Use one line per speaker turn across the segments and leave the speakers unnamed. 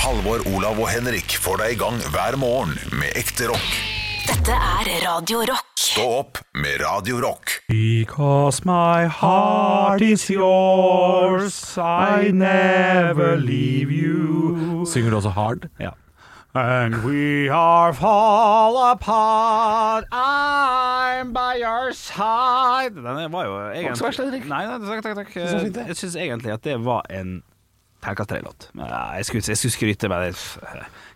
Halvor, Olav og Henrik får deg i gang hver morgen med ekte rock.
Dette er Radio Rock.
Stå opp med Radio Rock.
Because my heart is yours, I never leave you.
Synger du også hard?
Ja. And we are fall apart, I'm by your side Den var jo egentlig
så verst, Henrik.
Nei, nei, takk, takk, Eh, takk.
så fint, det.
Jeg syns egentlig at det var en terningkast tre-låt. Men, nei, Jeg, skulle- jeg skulle skryte, men jeg f-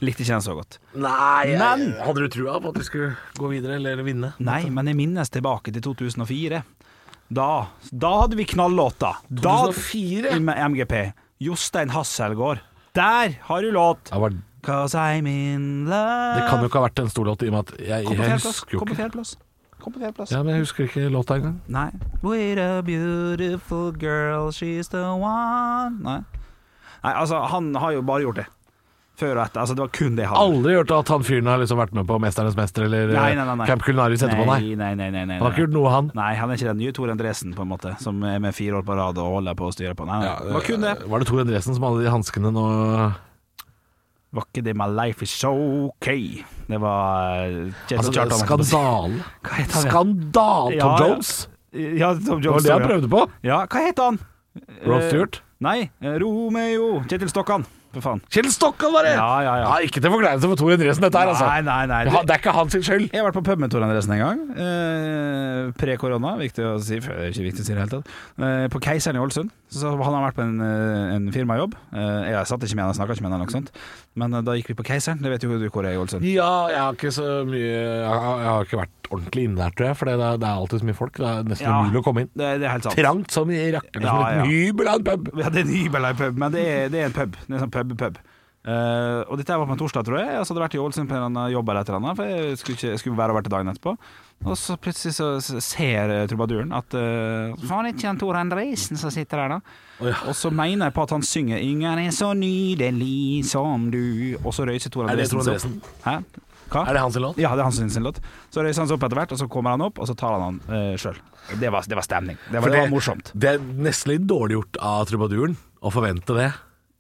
likte ikke den så godt.
Nei, jeg-
Men-
Hadde du trua på at du skulle gå videre eller vinne?
Nei, men jeg minnes tilbake til 2004. Da, da hadde vi knallåta. Da,
2004?
Med MGP. Jostein Hasselgaard. Der har du låt!
Det, var, det
Cause I'm in love
kan jo ikke ha vært en stor låt, i og med at jeg,
Kom på
jeg
fjerdeplass.
husker jo
Kom på
ikke
fjerdeplass. Kom på fjerdeplass.
Ja, men jeg husker ikke låta engang.
Nei. With a beautiful girl, she's the one Nei. Nei, altså, han har jo bare gjort det. Før og etter. Altså, det var kun det han gjorde.
Aldri hørt at han fyren har liksom vært med på 'Mesternes mester' eller eh,
Nei, nei, nei, nei.
Camp Culinaris etterpå,
Nei,
nei.
nei, nei, nei, nei.
Han har ikke gjort noe, han.
Nei, han er ikke den nye Tor Endresen, på en måte, som er med fire år på rad og holder på å styre på. Nei, nei. det var kun det.
Var det Tor Endresen som hadde de hanskene nå
Var ikke det My Life Is So OK? Det var eh, Kjetil
Altså,
Kjartan.
skandale.
Hva het han?
Skandale! Tom
Ja, ja.
Jones?
Ja, Tom
Det var
Jones.
det han
ja.
prøvde på.
Ja, hva het han?
Rod
Eh,
Stewart.
Nei, eh, Romeo. Kjetil Stokkan, for faen.
Kjell Stokkan, var det!
Ja, ja, ja.
Nei, ikke til forkleinelse for Tor Endresen, dette her, altså.
Nei, nei, nei.
Ja, Det er ikke hans skyld.
Jeg har vært på pub med Tor Andresen en gang. Eh, Pre-korona, viktig å si. før- Ikke viktig å si det i det hele tatt. Eh, på Keiseren i Ålesund. Så sa- han har vært på en, eh, en firmajobb. Eh, jeg satt ikke med han, jeg snakka ikke med han, eller noe sånt. Men eh, da gikk vi på Keiseren. Det vet jo du hvor er i Ålesund.
Ja, jeg har ikke så mye Jeg har, jeg har ikke vært ordentlig inne der, tror jeg. For det, er- det er alltid så mye folk. Det er nesten
Ja.
umulig å komme inn.
Det, det er helt sant.
Trangt som i rakkeren som
Ja,
en liten hybel av en pub.
Vi hadde en hybel av en pub, men det er, det er en pub. Det er en sånn pub-pub. Eh, og dette her var på en torsdag, tror jeg. Og så hadde jeg vært i Ålesund på en eller annen jobb eller et eller annet. For jeg skulle, ikke, jeg skulle være over til dagen etterpå. Og så plutselig så så ser eh, trubaduren at eh, Faen, er ikke han Tor Endresen som sitter der, da? Og så mener jeg på at han synger 'Ingen er så nydelig som du', og så røyser Tor
Er
Andresen
det Tor Andresen?
Hæ? Hva?
Er det hans låt?
Ja, det er han som sin låt. Så røyser han seg opp etter hvert, og så kommer han opp, og så tar han han uh, sjøl. Det, var- det var stemning. Det var, det var morsomt.
Det er nesten litt dårlig gjort av trubaduren å forvente det.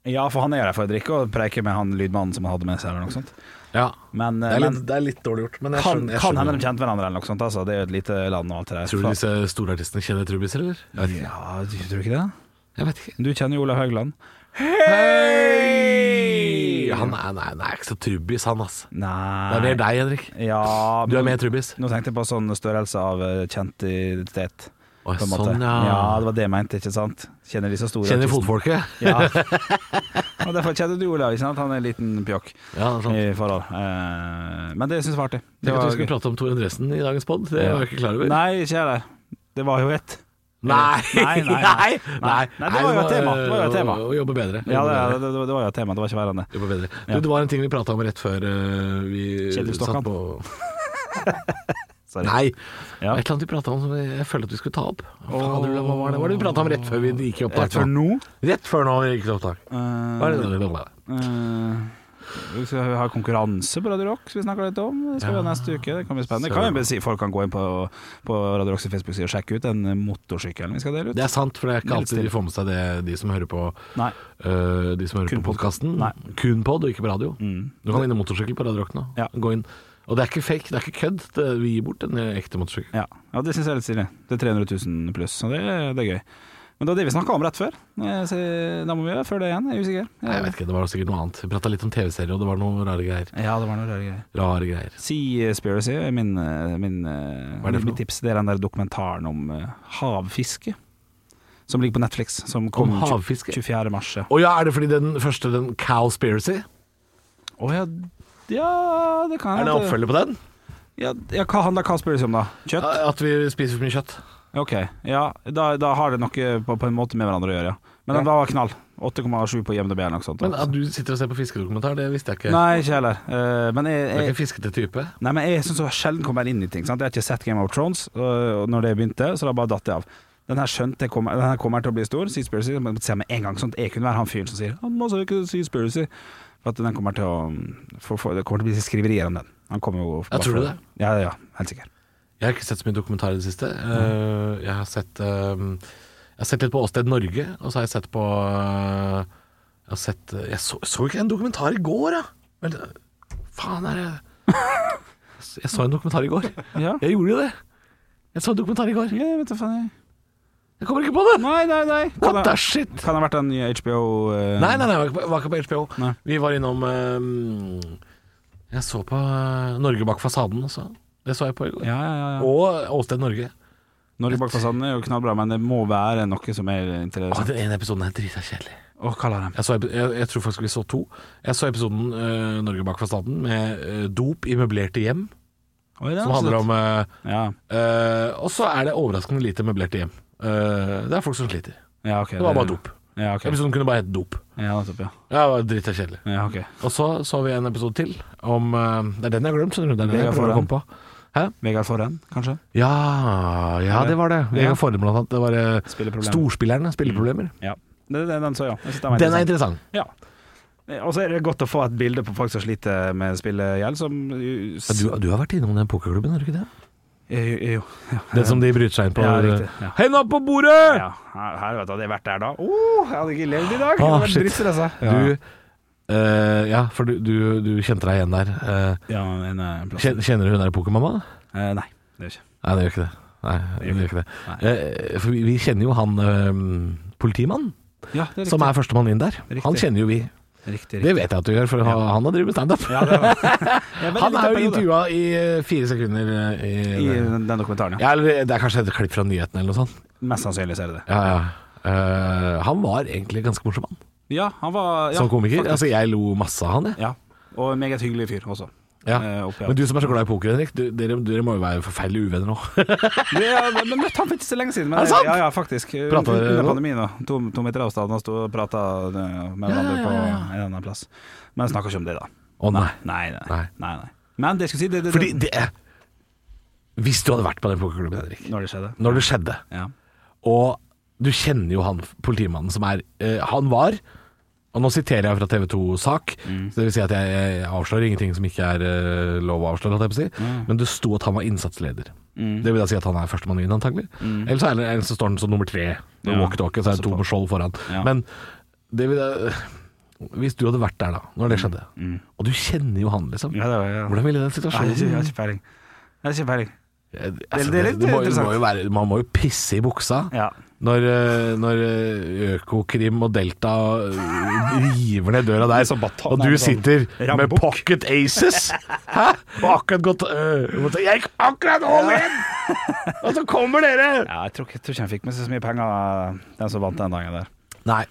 Ja, for han er der for å drikke og preike med han lydmannen som han hadde med seg. eller noe sånt
Ja.
Men, eh,
Det er litt,
men
det er litt dårlig gjort, men jeg
kan,
skjønner. Jeg
kan
skjønner.
hende de kjente hverandre eller noe sånt. Altså. Det er jo et lite land og alt det der.
Tror du disse store artistene kjenner trubbiser, eller? Jeg vet ikke.
Ja, du tror ikke det?
Jeg vet ikke.
Du kjenner jo Olav Haugland.
Han er, nei, han er ikke så trubbis, han, ass.
Nei
Det er mer deg, Henrik.
Ja,
Du er
men-
mer trubbis.
Nå tenkte jeg på sånn størrelse av eh, kjent identitet.
Å,
på en måte.
sånn, ja.
ja, det var det jeg mente, ikke sant? Kjenner de så store
Kjenner
artistene.
fotfolket.
Ja. Og derfor kjenner du Olav, ikke sant? Han er en liten pjokk
Ja, sånn.
i forhold. Eh, men det syns jeg var artig.
Det var at vi
gøy.
skulle prate om Tor Endresen i dagens pod. Det var jeg ikke klar over.
Nei, ikke jeg det. Det var jo ett.
Nei.
Nei, nei, nei.
Nei.
Nei. Nei, det var jo et tema. Det var jo et tema.
Å, å jobbe bedre.
Ja,
Jobbe
det,
bedre.
det, det, det var jo et tema, det var ikke verre enn det.
Jobbe bedre.
Ja.
Du, det var en ting vi prata om rett før eh, vi
Kjetil Stokkan.
satt på
Sorry.
Nei.
Ja.
Et eller annet vi prata om som jeg, jeg følte at vi skulle ta opp. Hva faen
Åh.
hadde du- hva var det, hva var det vi prata om rett før vi gikk i opptak?
Rett før
nå?
nå
Rett før nå vi gikk i opptak.
eh,
Hva er det- Det
eh, Vi skal ha konkurranse på Radio Rock, som vi snakker litt om. Det skal vi ha neste uke. Det kan bli spennende. Det kan jo bare si Folk kan gå inn på, på Radio Rocks Facebook-side og sjekke ut den motorsykkelen vi skal dele ut.
er sant, for det er ikke
Litt
alltid de
stille.
får med seg det, de som hører på
Nei.
eh, De som hører
Kun
på
pod-
podkasten.
Nei.
Kun pod og ikke på radio.
Mm.
Du kan vinne motorsykkel på Radio Rock nå.
Ja.
Gå inn. Og det er ikke fake, det er ikke kødd. Det- Vi gir bort en eh, ekte motorsykkel.
Ja, ja det syns jeg er litt stilig. Det er 300 000 pluss, så det, det er gøy. Men det var det vi snakka om rett før. Eh, Så da må vi gjøre før det igjen. Jeg er usikker.
Nei, jeg vet ikke, det var sikkert noe annet. Vi prata litt om TV-serier, og det var noen rare greier.
Ja, det var noe rare greier.
Rare greier.
Seaspiracy er min, eh, min,
Hva er det for
mitt
noe?
tips. Det er den der dokumentaren om eh, havfiske. Som ligger på Netflix. Som kom
Om havfiske?
24. mars. ja.
Og ja, er det fordi den første, den Cowspiracy,
Å ja, ja, det kan
er det
at-
oppfølger på den?
Ja, ja, hva handler Cowspiracy om, da? Kjøtt?
At vi spiser for mye kjøtt.
Ok, ja, da, da har det noe på, på en måte med hverandre å gjøre, ja. Men den var knall. 8,7 på IMDb eller noe sånt.
Men eh, at du sitter og ser på fiskedokumentar, det visste jeg ikke.
Nei, ikke heller. Eh, men jeg,
Du er
jeg,
ikke en fiskete type.
Nei, men jeg synes så sjelden kommer jeg inn i ting. Sant? Jeg har ikke sett Game of Thrones øh, og når det begynte, så da bare datt jeg av. Den her skjønte jeg kommer, den her kommer til å bli stor, Seaspiracy. Men jeg må se med en gang sånn at jeg kunne være han fyren som sier Han må søke Seaspiracy. For at den kommer til å for, for, Det kommer til å bli skriverier om den. Han kommer jo
Ja, tror du det?
Ja, ja, helt sikkert.
Jeg har ikke sett så mye dokumentar i det siste. Eh, ehm, jeg, har sett, eh, jeg har sett litt på Åsted Norge, og så har jeg sett på eh, Jeg har sett eh, Jeg så, så ikke en dokumentar i går, da. Vel, eh, faen er det Jeg så en dokumentar i går.
Ja.
Jeg gjorde jo det. Jeg så en dokumentar i går.
Ja, jeg vet da faen jeg.
Jeg kommer ikke på det!
Nei, nei, nei. Kan
What the
det,
shit?
kan det ha vært den nye HBO eh,
Nei, nei, nei, jeg var ikke på- var ikke på HBO.
Nei.
Vi var innom eh, Jeg så på eh, Norge bak fasaden også. Det så jeg på i går.
Ja, ja, ja, ja.
Og Åsted Norge.
Norge bak fasaden er jo knallbra, men det må være noe som er
Å,
interessant.
Altså, den ene episoden er drita kjedelig.
Å, kaller dem.
Jeg, så, epi- jeg, jeg tror faktisk vi så to. Jeg så episoden eh, Norge bak fasaden med eh, dop i møblerte hjem,
Oi, det er
som handler om eh,
absolutt- Ja,
eh, Og så er det overraskende lite møblerte hjem. Eh, det er folk som sliter.
ja ok.
Det var bare dop.
Ja, ok.
Episoden kunne bare hett Dop.
Ja, nettopp, ja.
Ja, det var drita kjedelig.
Ja, ok.
Og så så vi en episode til om eh, Det er den jeg har glemt, skjønner du. Det er den jeg
Vegard
prøver å
Forhen.
komme på.
Vegard Forhen, kanskje?
Ja, ja, det var det. Vegard Forhen blant annet. Det var eh,
Spilleproblemer.
storspillerne. Spilleproblemer.
Ja. Det, det, den så jeg, ja. Jeg synes den var
Den er
interessant.
interessant.
Ja. Og så er det godt å få et bilde på folk som sliter med spillegjeld, som
Ja, du, du har vært innom den pokerklubben, har du ikke det?
eh, Jo. Ja.
Den som de bryter seg inn på.
Ja, riktig, ja.
Henda opp på bordet!
Ja, her, her vet du, hadde jeg vært der da oh, Jeg hadde ikke levd i dag Jeg
Ah,
hadde vært altså.
shit.
drittstressa.
Du eh, Ja, for du, du, du kjente deg igjen der. Eh,
Ja, men eh, plass.
kjen- kjenner du hun der pokermamma?
Eh, Nei, det er ikke
Nei, det gjør ikke det. Nei, det gjør ikke det. Eh, for vi, vi kjenner jo han eh, politimannen
Ja, det er riktig
som er førstemann inn der.
Riktig.
Han kjenner jo vi.
Riktig,
Det vet jeg at du gjør, for han- han har drevet med standup.
ja, det var. Jeg veldig
Han
liten
er jo
periode.
intervjua i eh, fire sekunder eh, i,
I den den dokumentaren, ja
Ja, eller det er kanskje et klipp fra nyhetene eller noe sånt.
Mest sannsynlig ser jeg det
Ja, ja. Eh, han var egentlig ganske morsom, han.
Ja, han var ja,
Som komiker.
faktisk.
Altså, jeg lo masse av han, jeg.
Ja, og en meget hyggelig fyr også
Ja.
Eh, oppi alt.
Men du som er så glad i poker, Henrik, du, dere, dere må jo være forferdelige uvenner nå.
Du, jeg men møtte han for ikke så lenge siden men,
Er det sant?
Ja, ja, faktisk
Prata dere
Under
nå?
pandemien da Tom, Tom i Traustad Han stod og pratet eh, med
Ja, ja,
hverandre
ja, ja.
på en annen plass Men snakker ikke om det da
Å nei.
Nei, nei, nei,
Nei.
nei, Men det jeg skulle si det, det, det,
Fordi det er Hvis du hadde vært på den pokerklubben, Henrik,
Når det skjedde
når det skjedde,
Ja
og du kjenner jo han politimannen som er eh, Han var og nå siterer jeg fra TV 2-sak,
Mm.
så det vil si at jeg, jeg avslører ingenting som ikke er eh, lov å avsløre, holdt jeg på å si.
Mm.
men det sto at han var innsatsleder. Det vil da si at han er førstemann inn, antagelig. Eller så, er det- eller så står han som nummer tre
Mm.
med
Ja.
walkietalkie, så er det to med skjold foran.
Ja.
Men det vil da Hvis du hadde vært der da, når det skjedde, og du kjenner jo han,
Mm.
liksom,
Ja, det var, ja.
hvordan ville den
Nei, jeg har ikke- jeg
situasjonen
har ikke peiling. Jeg har ikke peiling.
Eh,
det
altså,
er
det,
litt
det må, det
interessant.
må jo være, man må jo pisse i buksa
Ja.
når, eh, når eh, Økokrim og Delta eh, river ned døra der,
Liksom baton-
og
nei,
du
men sånn
sitter med
rambukk.
pocket aces Hæ? og akkurat gått eh, og så, Jeg gikk akkurat all in! Og så kommer dere!
Ja, jeg tror ikke, jeg tror ikke han fikk med seg så mye penger, den som vant den dagen der.
Nei.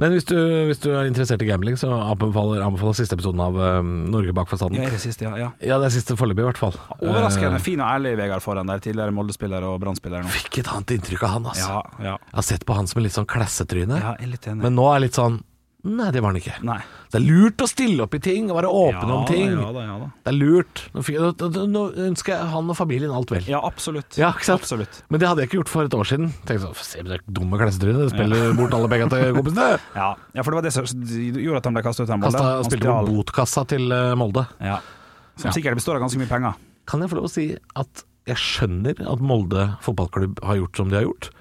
Men hvis du, hvis du er interessert i gambling, så anbefaler, anbefaler siste episoden av eh, Norge bak fasaden.
Ja, i det siste, ja. ja.
Ja, Eh. det er siste foreløpig, i hvert fall.
Overraskende fin og ærlig Vegard foran der, tidligere Molde-spiller og Brann-spiller nå.
Eh, Fikk et annet inntrykk av han, altså.
Ja, ja.
Jeg har sett på han som en litt sånn klassetryne.
Ja, jeg er litt enig.
Men nå er det litt sånn Nei, det var han ikke.
Nei.
Det er lurt å stille opp i ting og være åpen om ting.
Ja da, ja da.
Det er lurt. Nå, fikk, nå, nå- nå ønsker jeg han og familien alt vel.
Ja, absolutt.
Ja, ikke sant?
Absolutt.
Men det hadde jeg ikke gjort for et år siden. Tenkte sånn, Se på det dumme klassetrynet, det spiller bort alle pengene til kompisene.
Ja. ja, for det var det som gjorde at han ble kastet ut av Molde.
Kasta,
Han
spilte
stjal-
på botkassa til eh, Molde.
Ja. Som
Ja.
sikkert består av ganske mye penger.
Kan jeg få lov å si at jeg skjønner at Molde fotballklubb har gjort som de har gjort,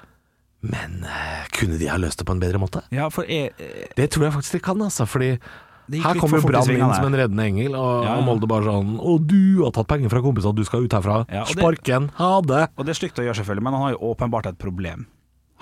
men eh, kunne de ha løst det på en bedre måte?
Ja, for jeg, eh,
Det tror jeg faktisk de kan, altså. Fordi
gikk
her
litt
kommer
for fort i
Brann inn
svingene
som en
her.
reddende engel, og,
Ja.
og Molde bare sånn Å, du har tatt penger fra kompisene, du skal ut herfra.
Ja, og det-
Spark igjen. Ha det.
og det er stygt å gjøre selvfølgelig, men han har jo åpenbart et problem.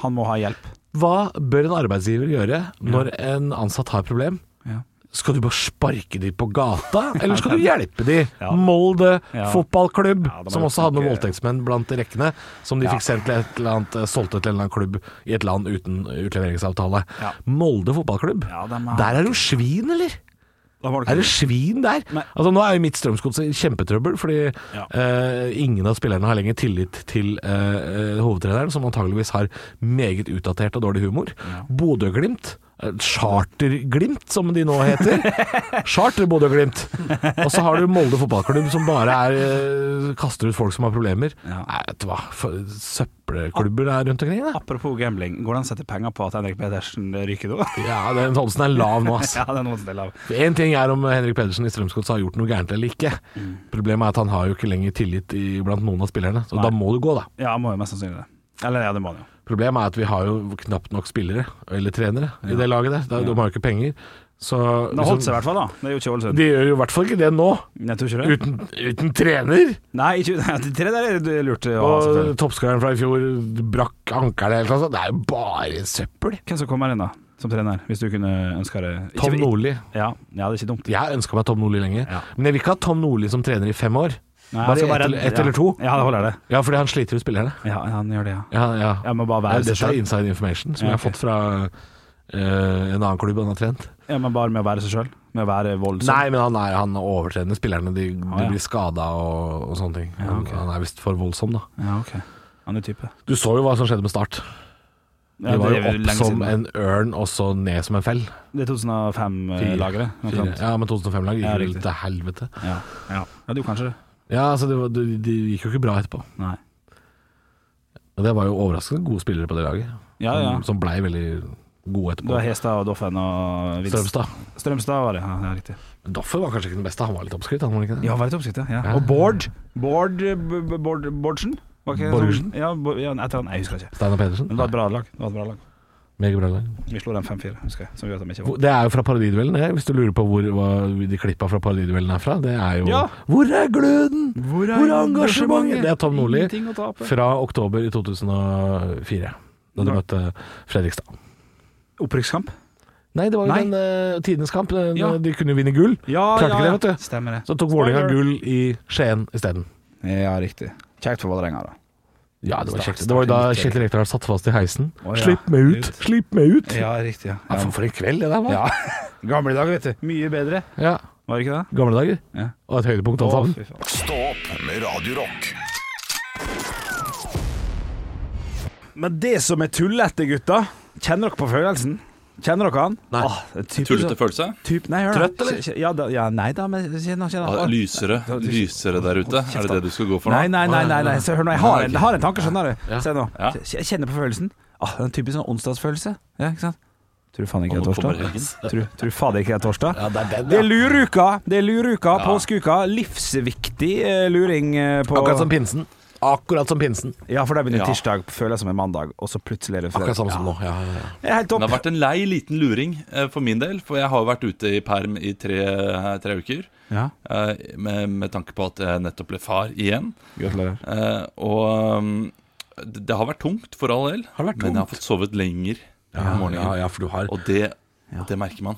Han må ha hjelp.
Hva bør en arbeidsgiver gjøre når en ansatt har et problem?
Ja.
Skal du bare sparke de på gata, eller skal du hjelpe de?
Ja.
Molde
Ja.
fotballklubb,
Ja, det må
som
jo
også hadde noen
snakke-
voldtektsmenn blant rekkene, som de fikk sendt til et eller annet, solgte til en eller annen klubb i et land uten utleveringsavtale.
Ja.
Molde fotballklubb,
Ja, dem er-
der er det jo svin, eller?
Da var det
Er det
ikke-
svin der?
Men-
altså Nå er jo mitt Strømsgods i kjempetrøbbel, fordi
Ja.
eh, ingen av spillerne har lenger tillit til eh, eh, hovedtreneren, som antageligvis har meget utdatert og dårlig humor. Bodø-Glimt. eh, Charter-Glimt, som de nå heter. Charter-Bodø-Glimt. Og så har du Molde fotballklubb, som bare er, eh, kaster ut folk som har problemer.
Ja.
Nei, vet du hva. For søppelklubber er rundt omkring, det.
Apropos gambling, går det an å sette penger på at Henrik Pedersen ryker nå?
Ja, den Thomsen er lav nå, ass.
ja, det er noen steder av.
En ting er om Henrik Pedersen i Strømsgods har gjort noe gærent eller ikke.
Mm.
Problemet er at han har jo ikke lenger tillit i, blant noen av spillerne. Så
Nei.
da må du gå, da.
Ja, han må jo mest sannsynlig det. Eller ja, det må han jo.
Problemet er at vi har jo knapt nok spillere, eller trenere, i det laget der. De, de har jo ikke penger. Så
Den har holdt seg i
liksom,
hvert fall, da. Det er jo ikke Ålesund.
de gjør jo i hvert fall ikke det nå,
Jeg tror ikke det.
uten, uten trener.
Nei, ikke, nei, de tre der er det lurt å ha,
Og
selvfølgelig.
toppskåreren fra i fjor brakk ankelen eller noe sånt. Det er jo bare søppel.
Hvem som kommer inn, da? Som trener, hvis du kunne ønska det. Ikke-
Tom Nordli.
Ja, ja, det er ikke dumt.
Jeg har ønska meg Tom Nordli lenge,
Ja.
men jeg vil ikke ha Tom Nordli som trener i fem år. bare ett eller- ett eller to.
altså, Ja, det holder det.
Ja, fordi han sliter ut spillerne.
Ja, han gjør det, ja.
Ja, ja.
Jeg må bare
Ja,
være seg
Dette er
sjøl.
inside information som
Ja,
jeg har
ok.
fått fra eh, en annen klubb han har trent.
Ja, men bare med å være seg sjøl. Med å være voldsom.
Nei, men han er han overtrener spillerne. De, de
ja.
blir skada og, og sånne ting.
Ja, ok.
Han er visst for voldsom, da.
Ja, ok. Han er type.
Du så jo hva som skjedde med Start.
Ja,
De var jo
er
opp
lenge
som
siden.
en ørn og så ned som en fell.
Det er 2005-lageret.
Fire. Ja, men 2005-laget
Ja,
gikk jo
riktig.
til helvete.
Ja. Ja. ja, du kanskje det.
Ja, altså, det, var, det, det gikk jo ikke bra etterpå.
Nei.
Og det var jo overraskende gode spillere på det laget,
Ja, ja.
som, som blei veldig gode
Du
etterpå.
har Hestad og Doffen og Vinst.
Strømstad.
Strømstad var det, ja, det er riktig.
Men Doffer var kanskje ikke den beste, han var litt oppskrytt, han var ikke det?
Ja, var litt oppskrytt, ja. ja.
Ja.
Og Bård. Bård eh, B- B- Bård Bårdsen? Var ikke
Borgersen?
sånn- Ja, Bo- ja, et eller annet. Nei, jeg husker ikke.
Steinar Pedersen.
Men det var et bra lag. Det var et bra lag.
Meget bra lag.
Vi slo dem 5-4, husker jeg. Som gjør at de ikke
Hvor-
var
Det er jo fra Paradiduellen, det. Hvis du lurer på hvor hva de klippa fra Paradiduellen er fra, det er jo
Ja.
Hvor er gløden?
Hvor er engasjementet?
Det er Tom Nordli
Ingenting å tape.
fra oktober i 2004, da de
Nei.
møtte Fredrikstad.
Opprykkskamp?
Nei, det var jo
Nei.
den eh, tidenes kamp. Den,
Ja.
De kunne jo vinne gull.
Ja,
Klarte ikke det, vet du.
Stemmer det.
Så tok Vålerenga
Spoiler.
gull i Skien isteden.
Ja, riktig. Kjekt for Vålerenga, da.
Ja, det var
Stakkars
kjekt. Det var jo da
Kjell.
Kjetil Rekdal satt fast i heisen.
Å, ja.
Slipp meg ut!
Ut.
Slipp meg ut! Ja.
Ja, riktig, ja.
for, for en kveld det der var.
ja. Gamle dager, vet du. Mye bedre.
Ja.
Var det ikke det?
Gamle dager.
Ja.
Og et høydepunkt alt sammen.
fy faen.
Stå opp med Radio Rock.
Men det som er tullete, gutta Kjenner dere på følelsen? Kjenner dere han?
Nei.
Ah, det er typisk- sånn-
Tullete følelse?
Typ, nei, hør da.
Trøtt, eller?
Kje- Ja, da, ja, nei da, men kjenn kjenn-
Ja, lysere, lysere der ute. Er det det du skal gå for nå?
Nei, nei, nei, nei, nei. Se, hør nå, jeg har, en- jeg har en tanke, skjønner du.
Ja.
Se nå.
Ja.
Kje- Jeg kjenner på følelsen. Ah, det er en typisk sånn onsdagsfølelse. Ja, ikke sant? Tror du faen ikke det
Og
er
nå kommer
torsdag?
helgen.
Tror, tror du faen ikke det er torsdag?
Ja, det er den,
Det er luruka, det er luruka, påskeuka. Livsviktig eh, luring eh, på
Akkurat som pinsen. Akkurat som pinsen.
Ja, for det begynner
Ja.
tirsdag, føles som en mandag, og så plutselig er det
Akkurat samme som nå. Ja, ja, ja.
Det er helt
Det har
topp.
vært en lei liten luring eh, for min del, for jeg har jo vært ute i perm i tre, tre uker.
Ja,
eh, Med, med tanke på at jeg nettopp ble far igjen.
gratulerer.
Eh, Og um, det det har vært tungt, for all del,
Har det vært
men jeg har
tungt?
fått sovet lenger
Ja,
om morgenen.
ja, ja, for du har
Og det, det merker man.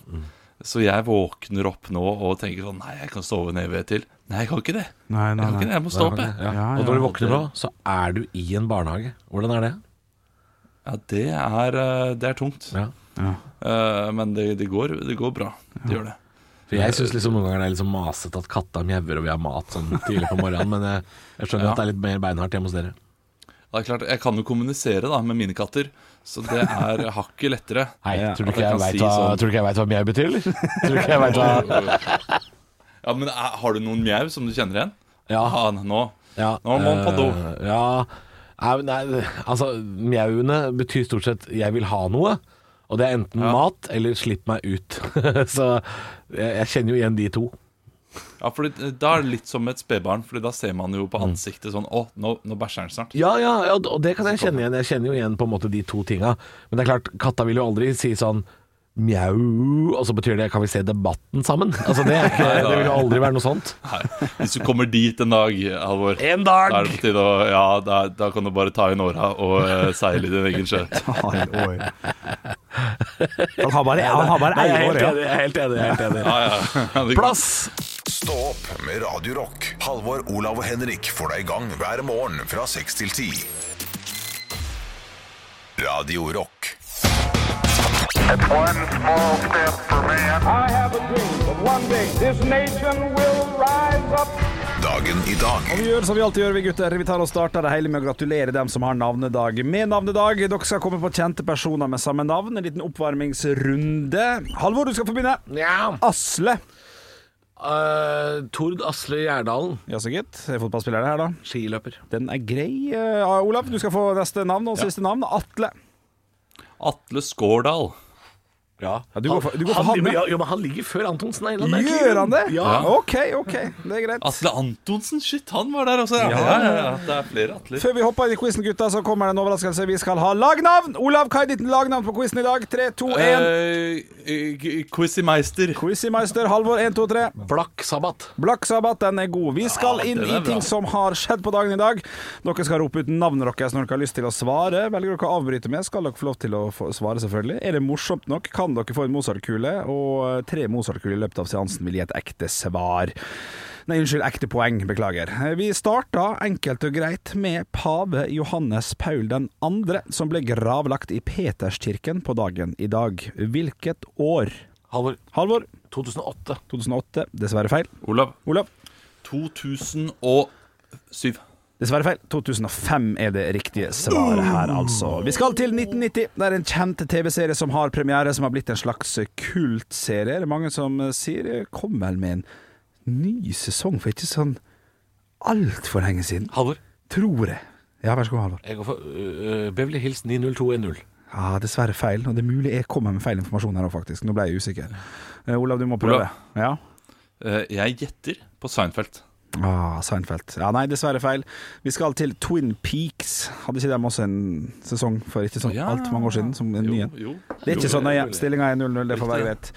Så jeg våkner opp nå og tenker sånn Nei, jeg kan sove en evighet til. Nei, jeg kan ikke det.
Nei,
Jeg kan ikke det, jeg må stå opp, jeg.
ja.
Ja,
Og når du
ja.
våkner nå, så er du i en barnehage. Hvordan er det?
Ja, det er, eh, det er tungt.
Ja.
Eh, Men det, det, går, det går bra. Det gjør det.
For Jeg syns liksom noen ganger det er litt sånn masete at katta mjauer og vi har mat sånn tidlig på morgenen, men jeg, jeg skjønner
Ja.
at det er litt mer beinhardt hjemme hos dere.
Det er klart, Jeg kan jo kommunisere da med mine katter, så det er hakket lettere.
Hei,
Ja,
tror du
at
ikke jeg,
jeg kan
vet
si
hva,
sånn.
tror du ikke jeg vet hva mjau betyr, eller? Tror du ikke jeg vet hva
Ja, men er- Har du noen mjau som du kjenner igjen?
Ja.
Ah, nå.
ja
Nå må han på do.
eh, Ja. Nei, men nei, altså mjauene betyr stort sett 'jeg vil ha noe', og det er enten
Ja.
mat eller 'slipp meg ut'. så jeg, jeg kjenner jo igjen de to.
Ja, fordi eh, Da er det litt som et spedbarn, Fordi da ser man jo på
Mm.
ansiktet sånn Å, nå, nå bæsjer han snart.
Ja, ja, ja, og det kan jeg kjenne igjen. Jeg kjenner jo igjen på en måte de to tinga. Men det er klart, katta vil jo aldri si sånn mjau, og så betyr det kan vi se debatten sammen? Altså det, er ikke, det vil jo aldri være noe sånt.
Nei, Hvis du kommer dit en dag, Halvor
En
Da
dag!
er det på tide å Ja, da, da kan du bare ta inn åra og eh, seile i din egen sjø.
Han har bare, han har bare
Nei, jeg
ei
er
år,
helt
ja.
enig. Jeg er helt enig, jeg er helt enig.
Ja, ja. ja, det-
Plass!
Stå opp med Radio Rock. Halvor, Olav og Henrik får deg i gang hver morgen fra 6 til 10. Radio Rock.
It's one small step for man.
I have a dream that one day this nation will rise up.
Dagen i dag.
Og vi gjør som vi alltid gjør, vi gutter. Vi tar og starter det hele med å gratulere dem som har navnedag med navnedag. Dere skal komme på kjente personer med samme navn. En liten oppvarmingsrunde. Halvor, du skal få begynne.
Nja.
Asle.
Eh, Tord Asle Gjerdalen,
Ja, så gitt. Fotballspillerne her, da.
skiløper.
Den er grei. Eh, Olav, du skal få neste navn og siste navn. Atle.
Atle Skårdal. Ja.
Ja, du går for, du går for
han,
han, ja.
ja, jo, men han ligger før Antonsen av en eller annen
Gjør han det?
Ja. Altså-
OK, ok, det er greit.
Atle Antonsen, shit, han var der også. Ja, ja, ja, ja. Det er flere Atler.
Før vi hopper inn i quizen, gutta, så kommer det en overraskelse. Vi skal ha lagnavn! Olav, hva er ditt lagnavn på quizen i dag? 3, 2, 1.
Eh, G- Quizzy Meister.
Quizmeister Halvor 1, 2, 3.
Blakk sabbat.
Black Sabbath, den er god. Vi skal
Ja,
inn
den
i
er bra.
ting som har skjedd på dagen i dag. Dere skal rope ut navnet deres når dere har lyst til å svare. Velger dere å avbryte med, skal dere få lov til å få svare, selvfølgelig. Er det morsomt nok, kan dere få en Mozart-kule, og eh, tre Mozart-kuler i løpet av seansen vil gi et ekte svar. Nei, unnskyld, ekte poeng, beklager. Eh, Vi starta enkelt og greit med pave Johannes Paul 2., som ble gravlagt i Peterskirken på dagen i dag. Hvilket år?
Halvor.
Halvor
2008.
2008. Dessverre feil.
Olav.
Olav?
2007.
Dessverre feil. 2005 er det riktige svaret her, altså. Vi skal til 1990. Det er en kjent TV-serie som har premiere, som har blitt en slags kultserie. Det er mange som eh, sier eh, kom vel med en ny sesong for ikke sånn altfor lenge siden.
Halvor.
Tror jeg. Ja, vær så god, Halvor.
Jeg går for øh, Beverly Hills 90210.
Ja, dessverre feil. Og det er mulig jeg kommer med feil informasjon her òg, faktisk. Nå ble jeg usikker. Eh, Olav, du må prøve.
Olav.
Ja.
Eh, Jeg gjetter på Seinfeld.
Ah, Seinfeld. Ja, nei, dessverre feil. Vi skal til Twin Peaks. Hadde ikke de også en sesong for ikke sånn
Ja.
altfor mange år siden? Som en ny en?
jo.
Det er ikke så nøye.
mulig.
Stillinga er 0-0, det får være greit.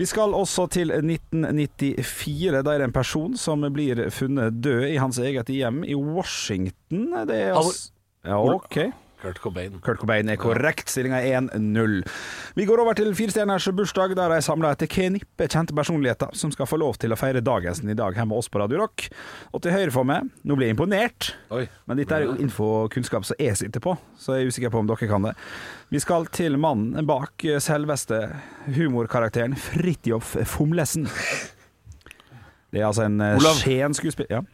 Vi skal også til 1994. Da er det en person som blir funnet død i hans eget hjem i Washington. Det er altså ja, OK.
Kurt Cobain.
Kurt Cobain er korrekt. Stillinga er 1-0. Vi går over til firestjerners bursdag, der de samla et knippe kjente personligheter som skal få lov til å feire dagen sin i dag her med oss på Radio Rock. Og til høyre for meg Nå blir jeg imponert.
Oi.
Men dette er jo info og kunnskap som jeg sitter på, så jeg er usikker på om dere kan det. Vi skal til mannen bak selveste humorkarakteren Fridtjof Fomlesen. Det er altså en eh,
Olav.
Skien skuespiller... Ja.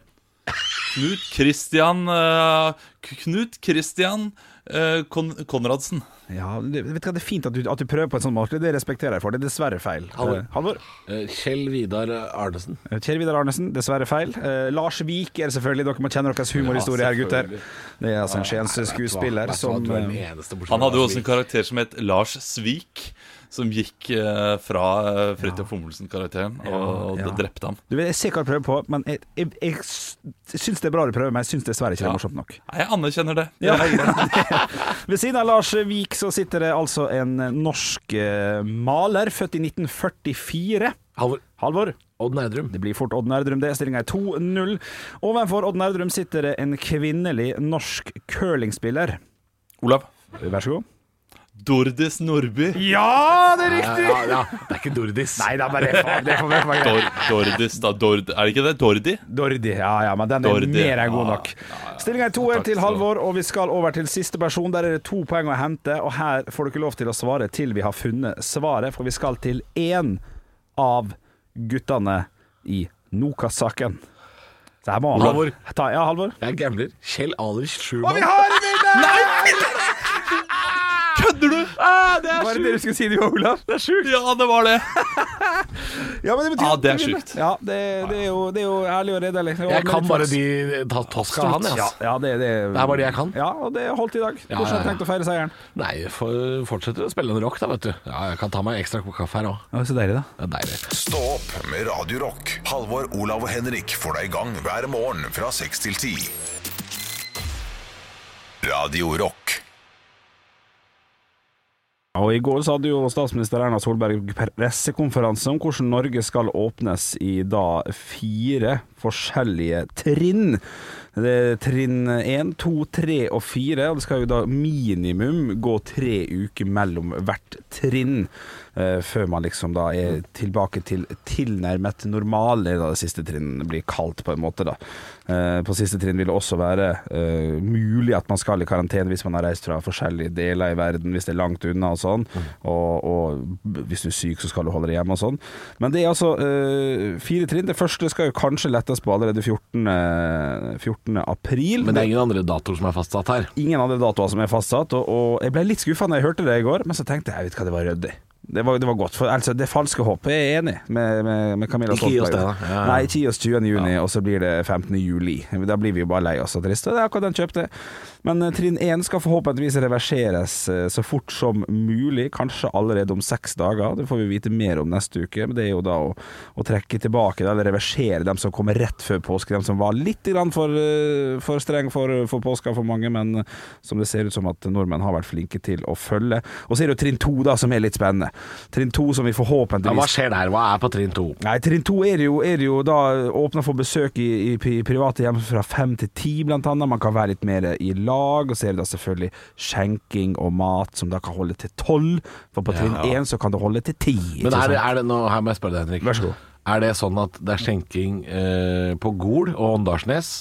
Knut Christian eh, K- Knut Christian eh, Kon Konradsen.
ja det, vet du hva, det er fint at du, at du prøver på en sånn måte, det respekterer jeg for. Det er dessverre feil.
Halvor.
Eh, Halvor.
Eh, Kjell Vidar Arnesen.
Eh, Kjell Vidar Arnesen, dessverre feil. Eh, Lars Vik er det selvfølgelig. Dere må kjenne deres humorhistorie her, gutter.
selvfølgelig.
Det er altså en Skiens skuespiller som
Du er den
eh,
eneste bortsett
Han
fra
hadde jo også
Svik.
en karakter som het Lars Svik, som gikk eh, fra eh, Fridtjof Hummelsen-karakteren og
Ja.
det drepte ham.
Du vet, Jeg ser hva du prøver på, men jeg, jeg, jeg s- syns det er bra du prøver, men jeg syns dessverre ikke det
Ja.
er morsomt nok.
Nei, Jeg anerkjenner det.
Ja. Ved siden av Lars Vik så sitter det altså en norsk eh, maler, født i 1944.
Halvor.
Halvor?
Odd Nerdrum.
Det blir fort Odd Nerdrum, det. Stillinga er 2-0. Ovenfor Odd Nerdrum sitter det en kvinnelig norsk curlingspiller.
Olav.
Vær så god.
Dordis Nordby.
Ja, det er
Ja, ja, ja. Det er ikke Dordis.
Nei da, bare faen, det får være greit.
Dor Dordis, da. Dord er det ikke det? Dordi?
Dordi. Ja ja, men den er
Dordi.
mer enn god
Ja,
nok. Stillinga er 2-1 til
skal du ha.
Halvor, og vi skal over til siste person. Der er det to poeng å hente, og her får dere lov til å svare til vi har funnet svaret, for vi skal til én av guttene i Nokas-saken. Så her må han
Halvor.
Ta, ja, Halvor.
Jeg er gambler. Kjell Alrich Schumann.
Kødder du?!
Hva er Ah, det du skulle si du, Olav? Det er sjukt.
Ja, det var det.
Ja, men det betyr
Ja,
at
det er
vi vinner.
sjukt.
Ja, det, det, er jo, det er jo ærlig og redelig. Det er
Jeg
ordentlig
kan
for
bare
oss.
de ta Tosca, han, jeg,
Ja,
ass.
ja, det, det,
Det er bare det jeg kan.
Ja, og det holdt i dag.
Ja,
Hvordan har du
ja, ja.
tenkt å feire seieren?
Nei, jeg får- fortsetter å spille en rock, da, vet du. Ja, jeg kan ta meg en ekstra kopp kaffe her òg.
Ja, så deilig, da.
Det er deilig.
Stå opp med Radio Rock. Halvor, Olav og Henrik får deg i gang hver morgen fra 6 til 10. Radio Rock.
Og I går så hadde jo statsminister Erna Solberg pressekonferanse om hvordan Norge skal åpnes i da fire forskjellige trinn. Det er trinn én, to, tre og fire. Og det skal jo da minimum gå tre uker mellom hvert trinn eh, før man liksom da er tilbake til tilnærmet normal, er da det siste trinn blir kalt på en måte. da. Eh, På siste trinn vil det også være eh, mulig at man skal i karantene hvis man har reist fra forskjellige deler i verden, hvis det er langt unna og sånn.
Mm.
Og, og hvis du er syk, så skal du holde deg hjemme og sånn. Men det er altså eh, fire trinn. Det første skal jo kanskje lettes på allerede 14. 14. april.
Men det er ingen andre datoer som er fastsatt her.
ingen andre datoer som er fastsatt, og, og jeg ble litt skuffa når jeg hørte det i går, men så tenkte jeg, jeg vet hva, det var ryddig. Det var, det var godt. For altså, det falske håpet er jeg enig med, med, med Camilla
Ikke gi oss
Stoltenberg.
det, da. Ja, ja.
Nei, ikke gi oss 20. juni, og så blir det 15. juli. Da blir vi jo bare lei oss og triste. Det er akkurat den kjøpte. Men eh, trinn 1 skal forhåpentligvis reverseres eh, så fort som mulig, kanskje allerede om seks dager. Det får vi vite mer om neste uke. Men det er jo da å, å trekke tilbake, da, eller reversere dem som kommer rett før påske. Dem som var litt grann for, eh, for streng for, for påska for mange, men eh, som det ser ut som at nordmenn har vært flinke til å følge. Og så er det jo trinn 2 da, som er litt spennende. Trinn 2 som vi
Ja, hva
forhåpentligvis
skjer der? Hva er på trinn to?
Nei, trinn to er det jo, er det jo da åpna for besøk i, i pri- private hjem fra fem til ti, blant annet. Man kan være litt mer i lag, og så er det da selvfølgelig skjenking og mat som da kan holde til tolv. For på trinn én så kan det holde til ti.
Men er, det- er det, nå, her må jeg spørre deg, Henrik.
Vær så god.
Er det sånn at det er skjenking eh, på Gol og Åndalsnes,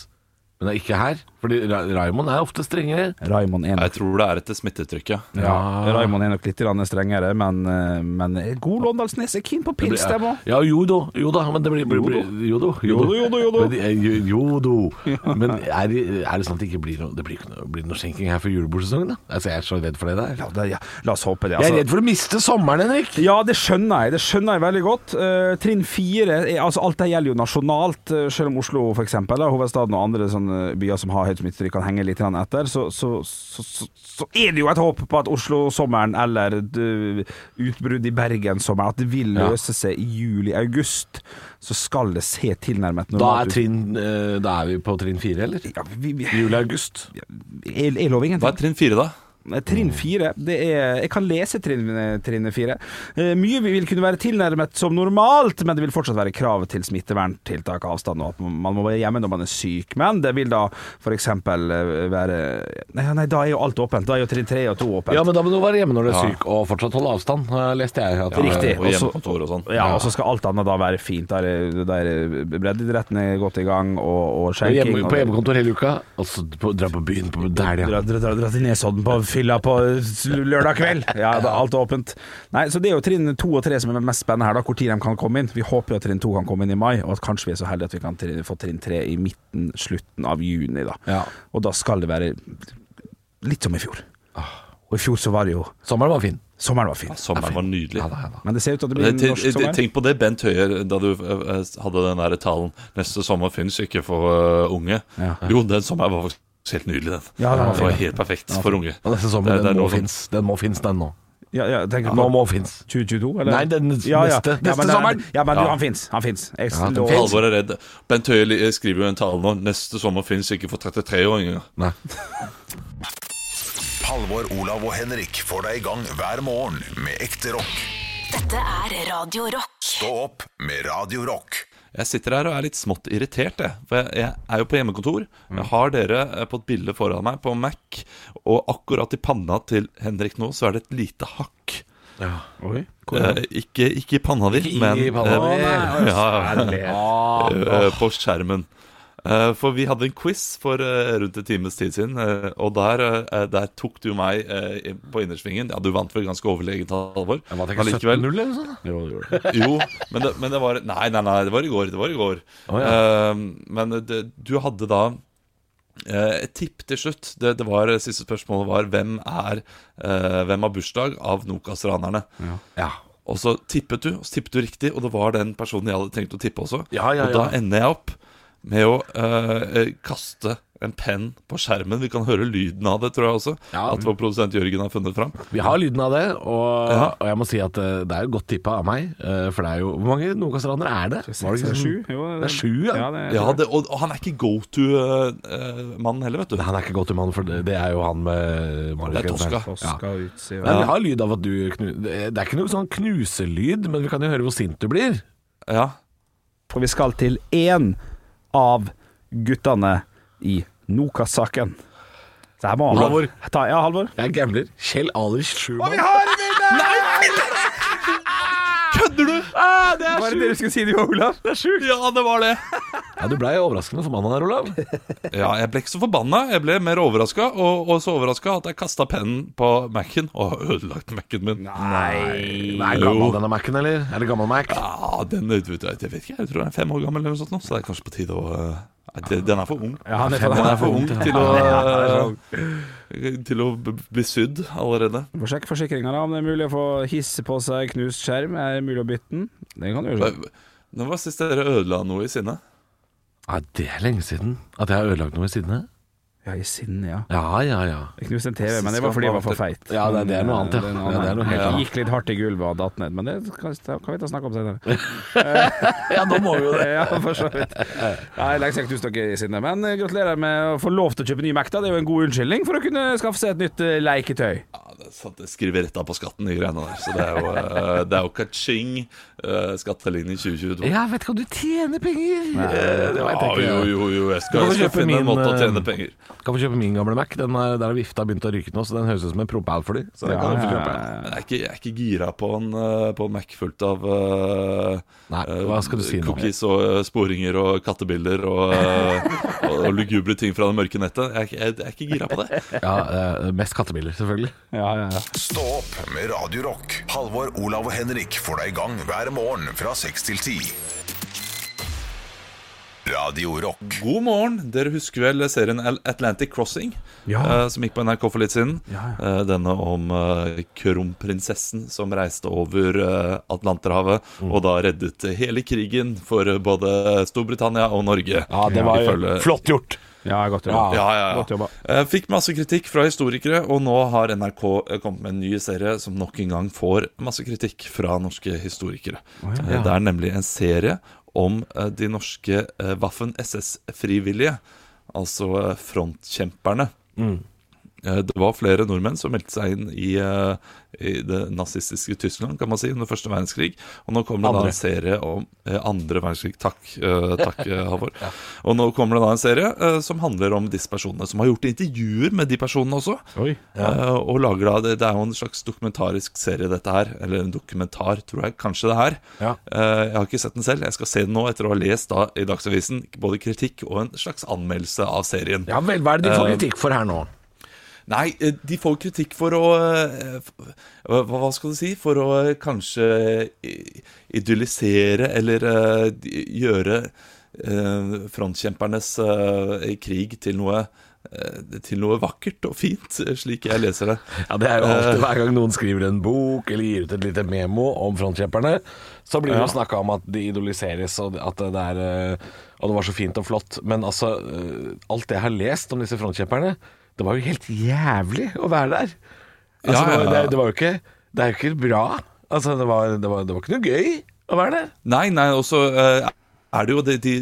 men det er ikke her? Fordi Ra Raymond er ofte strengere.
Raymond er
Jeg
nok,
tror det er etter smittetrykket.
ja, Raymond er nok litt grann strengere, men, eh, men god Låndalsnes er keen på pils, dem òg.
Ja, jo da, jo da, men det blir, blir, blir Jo da, jo da.
Jo da, jo da, jo da.
Men, eh, jo, jo da. Men er, det- er det sånn at det ikke blir noe, det blir ikke noe, blir det noe skjenking her for julebordsesongen? da? Altså, jeg er så redd for det der.
Ja, det- ja, la oss håpe det.
Jeg er
altså.
redd for å miste sommeren, Henrik.
Ja, det skjønner jeg. Det skjønner jeg veldig godt. Eh, trinn fire er- altså Alt det gjelder jo nasjonalt, eh, selv om Oslo for eksempel, da, hovedstaden og andre sånne byer som har høyt smittetrykk, kan henge litt grann etter. Så, så, så, så, så er det jo et håp på at Oslo-sommeren eller et, eh, utbrudd i Bergen-sommeren At det vil løse seg i juli-august. Så skal det se tilnærmet
Da er,
normalt ut.
trinn, eh, da er vi på trinn fire, eller?
Ja, vi, vi,
Juli-august.
jeg, jeg lover ingenting.
Hva er trinn fire, da?
Eh,
Mm.
Trinn fire det er, Jeg kan lese trinn, trinn fire. Eh, mye vi vil kunne være tilnærmet som normalt, men det vil fortsatt være krav til smitteverntiltak, avstand og at man må være hjemme når man er syk. Men det vil da f.eks. være Nei, nei, da er jo alt åpent. Da er jo trinn tre og to åpent.
Ja, men da må du være hjemme når du er
Ja.
syk, og fortsatt holde avstand, eh, leste jeg. At,
Riktig.
Eh, Og hjemmekontor og sånn.
Ja, og så skal alt annet da være fint. Da er det- da er det- breddeidretten er godt i gang, og, og
På,
skjenking
hjemme,
og-
på hjemmekontor hele uka, og så på, dra på byen på der, ja.
Dra, dra, dra, dra til Nesodden på fylla på s- lørdag kveld. Ja, da, alt er åpent. Nei, så Det er jo trinn to og tre som er mest spennende her, da, hvor tid de kan komme inn. Vi håper jo at trinn to kan komme inn i mai, og at kanskje vi er så heldige at vi kan tri- få trinn tre i midten, slutten av juni. da
Ja.
Og da skal det være litt som i fjor.
Ah.
Og i fjor så var det jo
Sommeren var fin.
Sommeren var fin.
Sommeren var nydelig.
Ja,
Eh,
da, ja, da.
Men det ser ut til at det blir en
Tenk, eh,
norsk sommer.
tenk på det, Bent Høie, da du eh, hadde den der talen 'Neste sommer fins ikke for eh, unge'.
Ja.
Jo, den sommeren var faktisk helt nydelig, den.
Ja, den var
det var
fin.
helt perfekt for unge.
Og neste sommer,
Det- det er
den, må
noe sånn-
finnes. den må finnes, den nå.
Ja, ja, tenk
Nå
på
må finnes.
2022, eller?
Nei, den neste- neste
ja, men, den-
sommeren.
Ja, men du,
Ja.
han fins. Han fins. Jeg
Ja, den
lover.
finnes.
Halvor er redd. Bent Høie li- eh, skriver jo en tale nå 'Neste sommer fins ikke for 33-åringer'.
Nei.
Halvor, Olav og Henrik får deg i gang hver morgen med ekte rock.
Dette er Radio Rock.
Stå opp med Radio Rock.
Jeg sitter her og er litt smått irritert, jeg. For jeg, jeg er jo på hjemmekontor.
Mm.
Jeg har dere eh, på et bilde foran meg på Mac, og akkurat i panna til Henrik nå, så er det et lite hakk.
Oi, hvor er
Eh, ikke, ikke i panna di,
Ikke i
men
panna
eh,
mi.
ja,
det?
eh, på skjermen. Eh, For vi hadde en quiz for eh, rundt en times tid siden, eh, og der, eh, der tok du meg eh, på innersvingen. Ja, du vant vel ganske overlegent, Halvor.
Var det
Men
ikke
likevel-
17-0 eller noe sånt? Jo, det gjorde det.
jo, men det, men det var Nei, nei, nei, det var i går. Det var i går.
Å, ja.
Eh, men det, du hadde da eh, et tipp til slutt. Det, det var, Siste spørsmålet var hvem er eh, Hvem har bursdag av Nokas-ranerne.
Mm. Ja.
Og så tippet du, og så tippet du riktig, og det var den personen jeg hadde tenkt å tippe også.
Ja, ja,
og da
ja.
ender jeg opp med å eh, eh, kaste en penn på skjermen. Vi kan høre lyden av det, tror jeg også.
Ja.
At vår produsent Jørgen har funnet fram.
Vi har lyden av det, og,
Ja.
og jeg må si at eh, det er jo godt tippa av meg. eh, For det er jo Hvor mange Nokas-raner er det? Var det ikke sånn-
sju? Jo,
Det er sju, ja.
det er-
Ja, det, og, og han er ikke go to-mannen heller, vet du.
Nei, Han er ikke godt human, for det det er jo han med Mario
Det er
Kart.
Tosca.
Ja.
Tosca ut, sier
Men
jeg.
vi har lyd av at du knu... Det er ikke noe sånn knuselyd, men vi kan jo høre hvor sint du blir.
Ja.
For vi skal til én av guttene i Nokas-saken. Så her må han
Halvor.
Ta, ja, Halvor.
Jeg gambler. Kjell Alrich Schumann.
Kødder du?!
Ah,
Hva er det dere skulle si, du og Olav? Det er sjukt.
Ja, det var det.
Ja, du blei overraskende forbanna der, Olav.
Ja, jeg ble ikke så forbanna. Jeg ble mer overraska, og, og så overraska at jeg kasta pennen på Mac-en og har ødelagt Mac-en min.
Nei, er gammel denne Mac-en, eller? Er det gammel Mac?
Ah, Ja, den vet du, jeg vet ikke, jeg tror den er fem år gammel eller noe sånt nå, så det er kanskje på tide å eh, det, den er for ung.
Ja, han er for-
den er for ung til å, eh,
ung.
til å b- bli sydd allerede.
Mm.
Må sjekke forsikringa, da. Om det er mulig å få hisse på seg knust skjerm. Er det mulig å bytte den? Det kan du gjøre.
Når var sist dere ødela noe i sinne?
Nei, det er lenge siden at jeg har ødelagt noe i sinne.
Ja, i sinne, ja.
Ja, ja, ja.
Jeg knuste en TV, men det var fordi jeg var for feit.
Ja, det- det er noe annet, ja.
Men, eh,
Ja, det er noe helt
Jeg
annet.
Gikk litt hardt i gulvet og datt ned, men det kan, kan vi ta snakke om senere.
Ja, nå må vi jo
ja, for så vidt. Nei, lenge siden jeg knuste dere i sinne. Men eh, gratulerer med å få lov til å kjøpe ny Mac, da. Det er jo en god unnskyldning for å kunne skaffe seg et nytt eh, leketøy.
Ja, Ah, det, er sant, det skriver rett av på skatten, de greiene der. Så det er jo, eh, det er jo ka-ching, eh, skatteligning 2022.
Jeg vet ikke om du tjener penger. Eh, det vet jeg ikke.
Ah, jo, jo, jo, jeg skal,
Du kan
jeg skal
kjøpe
finne en
min,
måte å
eh,
tjene penger.
Kan få kjøpe min gamle Mac. Den er, der har vifta begynt å ryke nå, så den høres ut som en propell for dem. Så den kan du få kjøpe.
Men jeg er ikke, jeg er ikke gira på en, eh, på en Mac fullt av eh,
Nei,
eh,
hva skal du si nå?
cookies og eh, sporinger og kattebilder og, eh, og, og lugubre ting fra det mørke nettet. Jeg, er ikke- jeg, jeg er ikke gira på det.
Ja, eh, Mest kattebiler, selvfølgelig.
Ja, ja, ja.
Stå opp med Radio Rock. Halvor, Olav og Henrik får deg i gang hver morgen fra 6 til 10. Radio Rock.
God morgen. Dere husker vel serien Al- Atlantic Crossing?
Ja.
eh, som gikk på NRK for litt siden.
Ja,
Eh, denne om eh, kronprinsessen som reiste over eh, Atlanterhavet
Mm.
og da reddet hele krigen for eh, både Storbritannia og Norge.
Ja, det var
Ifølge-
flott gjort.
ja godt jobba.
ja, ja, ja.
Godt jobba.
Eh, Fikk masse kritikk fra historikere, og nå har NRK eh, kommet med en ny serie som nok en gang får masse kritikk fra norske historikere. Eh, Det er nemlig en serie om eh, de norske eh, Waffen SS-frivillige, altså eh, frontkjemperne. Eh, Det var flere nordmenn som meldte seg inn i, eh, i det nazistiske Tyskland kan man si, under første verdenskrig. Og nå kommer det da
Andre.
en serie om eh, andre verdenskrig. Takk, eh, takk eh, Halvor. Og nå kommer det da en serie eh, som handler om disse personene, som har gjort intervjuer med de personene også.
Oi.
Eh, og lager da, det, det er jo en slags dokumentarisk serie, dette her. Eller en dokumentar, tror jeg kanskje det er.
Ja.
Eh, jeg har ikke sett den selv. Jeg skal se den nå, etter å ha lest da, i Dagsavisen både kritikk og en slags anmeldelse av serien.
Ja vel, hva er det de får kritikk for her nå?
Nei, eh, de får kritikk for å eh, f- Hva hva skal du si? For å eh, kanskje i- idyllisere eller eh, d- gjøre eh, frontkjempernes eh, krig til noe eh, til noe vakkert og fint, eh, slik jeg leser det.
Ja, Det er jo alltid hver gang noen skriver en bok eller gir ut et lite memo om frontkjemperne, så blir det jo snakka om at de idoliseres og at det er eh, Og det var så fint og flott. Men altså, eh, alt det jeg har lest om disse frontkjemperne, det var jo helt jævlig å være der. Altså,
Ja,
Det,
ja,
var,
ja.
det, det var jo ikke Det er jo ikke bra. Altså, det var, det var, det var ikke noe gøy å være der.
Nei, nei, også eh, er det jo de, de,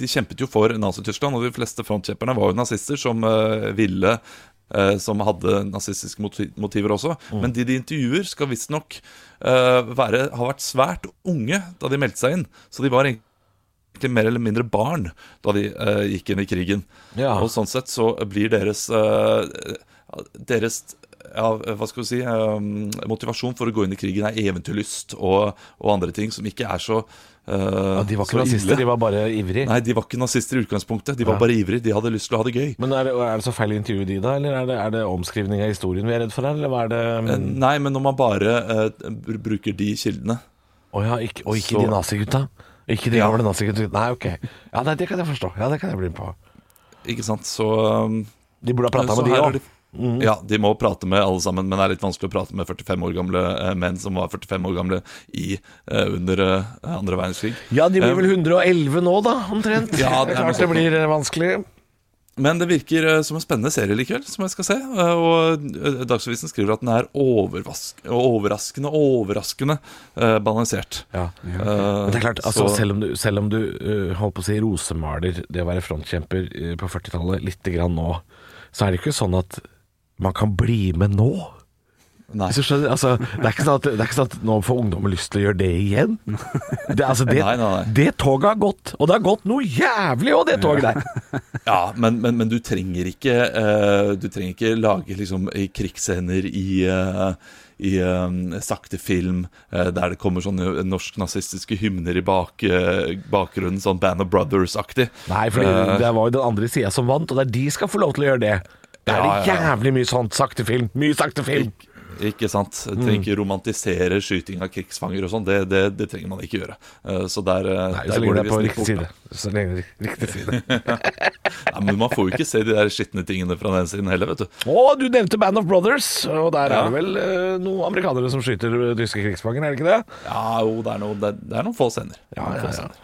de kjempet jo for Nazi-Tyskland, og de fleste frontkjemperne var jo nazister som eh, ville eh, som hadde nazistiske moti- motiver også. Men de de intervjuer, skal visstnok uh, være, ha vært svært unge da de meldte seg inn. Så de var egentlig mer eller mindre barn da de eh, gikk inn i krigen.
Ja.
Og sånn sett så blir deres eh, Deres ja, hva skal du si eh, Motivasjon for å gå inn i krigen er eventyrlyst og, og andre ting som ikke er så eh,
de var
så
ikke nazister,
ille.
de var bare ivrige.
Nei, de var ikke nazister i utgangspunktet. De var bare ivrige. De hadde lyst til å ha det gøy.
Men er det, er det så feil intervju de, da? Eller er det, er det omskrivning av historien vi er redd for her? Eller hva er det
Eh, Nei, men når man bare eh, br- bruker de kildene
Å ja, ikke, og ikke
Så-
de nazigutta? Ikke de
Ja.
gamle nazigutta? Nei, ok. Ja, nei, det kan jeg forstå. Ja, det kan jeg bli med på.
Ikke sant? Så, um,
De burde ha prata
så
med de Mm.
her er
òg.
det- Ja, de må prate med alle sammen, men det er litt vanskelig å prate med 45 år gamle eh, menn som var 45 år gamle i, eh, under eh, andre verdenskrig.
Ja, de blir vel 111 nå, da, omtrent.
Ja,
Eh, det er klart
det er
det
noe sånt.
blir eh, vanskelig.
Men det virker eh, som en spennende serie likevel, som jeg skal se. Eh, Og eh, Dagsavisen skriver at den er overvask overraskende, overraskende eh, balansert.
Ja.
Eh,
Men det er klart, altså,
så-
selv om du, selv om du eh, holdt på å si rosemaler det å være frontkjemper eh, på 40-tallet lite grann nå, så er det ikke sånn at man kan bli med nå.
Nei.
Hvis du skjønner, altså, det, er ikke sånn at, det er ikke sånn at nå får ungdommen lyst til å gjøre det igjen. Det, altså, det,
Nei, nei, nei.
det toget har gått, og det har gått noe jævlig òg, det toget der.
Ja, men, men, men du trenger ikke eh, Du trenger ikke lage liksom i krigsscener i, eh, i eh, sakte film eh, der det kommer sånne norsk-nazistiske hymner i bak, eh, bakgrunnen, sånn Band of Brothers-aktig.
Nei, for
Eh,
det var jo den andre sida som vant, og det er de skal få lov til å gjøre det. Det er
Ja,
det
ja, ja.
jævlig mye sånt. Sakte film, Mm. mye sakte film.
Ikke sant? Jeg trenger ikke romantisere skyting av krigsfanger og sånn. Det, det, det trenger man ikke gjøre. Eh, Så der, eh,
Nei,
der
så lenge det er på
visst
riktig
bort,
side. Så lenge det er riktig side.
da. Nei, men man får jo ikke se de der skitne tingene fra den siden heller, vet du.
Å, du nevnte Band of Brothers, og der
Ja.
er det vel eh, noen amerikanere som skyter eh, tyske krigsfanger, er det ikke det?
Ja, jo, det er, noe, det, er- det er noen få scener. Noen få scener.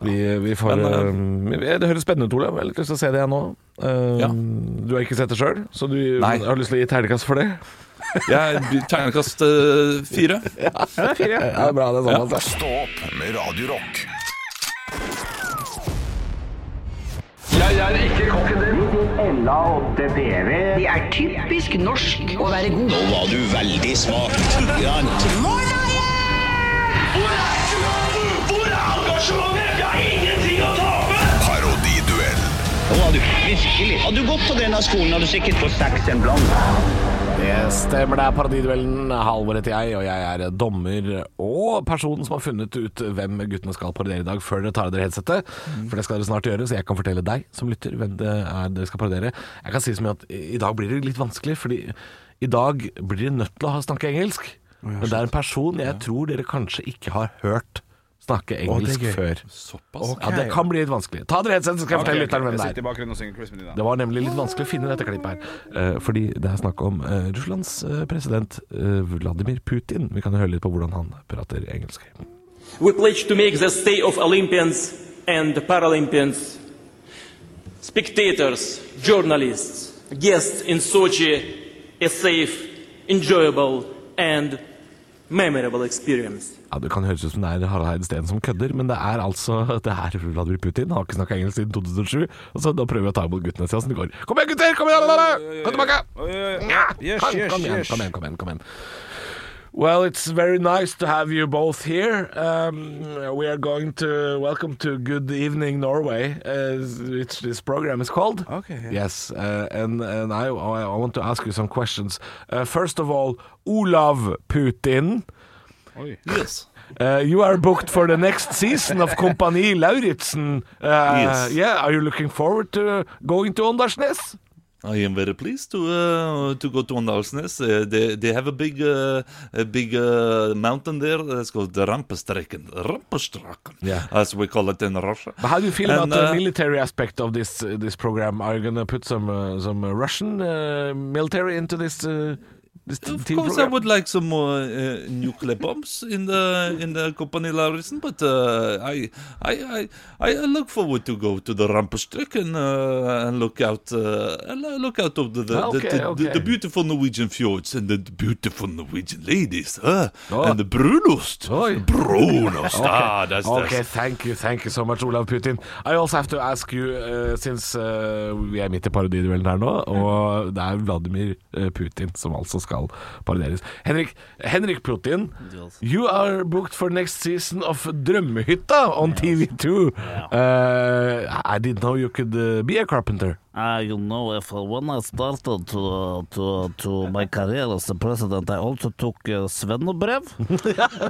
Vi, eh, vi får,
Men,
eh, det høres spennende ut, Ole. Jeg har litt lyst til å se det jeg nå. Eh,
Ja.
Du har ikke sett det sjøl, så du
Nei.
har lyst til å gi terningkast for det?
Jeg blir terningkast eh, fire.
Ja, det er bra, det er sånn, altså.
Stå opp med Radio Rock.
Det er typisk norsk å være god.
Nå var du veldig smak.
Parodiduell
Nå var du virkelig. Hadde du gått på denne skolen, hadde du sikkert fått seks en blant.
Det stemmer, det er Paradiduellen. Halvor heter jeg, og jeg er dommer og personen som har funnet ut hvem guttene skal parodiere i dag, før dere tar av dere headsetet. For det skal dere snart gjøre, så jeg kan fortelle deg som lytter hvem det er dere skal parodiere. Jeg kan si så mye at i dag blir det litt vanskelig, fordi i dag blir dere nødt til å ha- snakke engelsk. Men det er en person jeg tror dere kanskje ikke har hørt snakke engelsk før.
Såpass.
Ja, det kan bli litt vanskelig. Ta av dere headsetet, så skal jeg fortelle lytteren hvem det er.
bakgrunnen og synger Chris Medina.
Det var nemlig litt vanskelig å finne dette klippet her, eh, fordi det er snakk om eh, Russlands eh, president eh, Vladimir Putin. Vi kan jo høre litt på hvordan han prater engelsk.
We pledge to make the state of Olympians and Paralympians, spectators, journalists, guests in Sochi a safe, enjoyable, and memorable experience.
Ja, Det kan høres ut som det er Harald Steen som kødder, men det er altså det er Vladimir Putin. Han har ikke snakka engelsk siden 2007. Og så Da prøver jeg å ta imot guttene og se åssen det går. Kom igjen, gutter! Kom igjen, alle dere! Kom tilbake! Ja,
Eh, Yes,
Kom,
yes,
kom igjen,
yes.
kom igjen, kom igjen, kom igjen. Well, it's very nice to have you both here. Um, we are going to welcome to Good Evening Norway, uh, which this program is called.
Okay, yeah.
Yes, uh, and and I I I want to ask you some questions. Uh, first of all, Olav Putin.
Yes.
Uh, you are booked for the next season of Company Lauritzen. Uh,
Yes.
Yeah, are you looking forward to going to Åndalsnes?
I am very pleased to uh, to go to Åndalsnes. Uh, they they have a big uh, a big uh, mountain there that's called the Rampestreken, Rampestraken,
Yeah.
as we call it in Russia.
But how do you feel
And,
about the
uh,
military aspect of this uh, this program? Are you gonna put some uh, some uh, Russian uh, military into this uh, this t-
Of
TV
course, I
program?
would like some more uh, nuclear bombs in the in the company Lauritzen, but uh, I, I I I look forward to go to the Rampestreken uh, and look out uh, and look out of the the,
Okay,
the, the,
okay.
the beautiful Norwegian fjords and the beautiful Norwegian ladies, huh?
Oh.
and the brunost,
Oi.
brunost. Ah, that's
Okay,
that's.
thank you, thank you so much, Olav Putin. I also have to ask you, uh, since uh, vi er midt i parodiduellen her nå, og det er Vladimir uh, Putin som altså skal parodieres. Henrik, Henrik Putin, you are booked for next season of Drømmehytta on TV2. Uh, I didn't know you could uh, be a carpenter.
Uh, you know, if uh, when I started to, uh, to to my career as a president, I also took uh, Svennebrev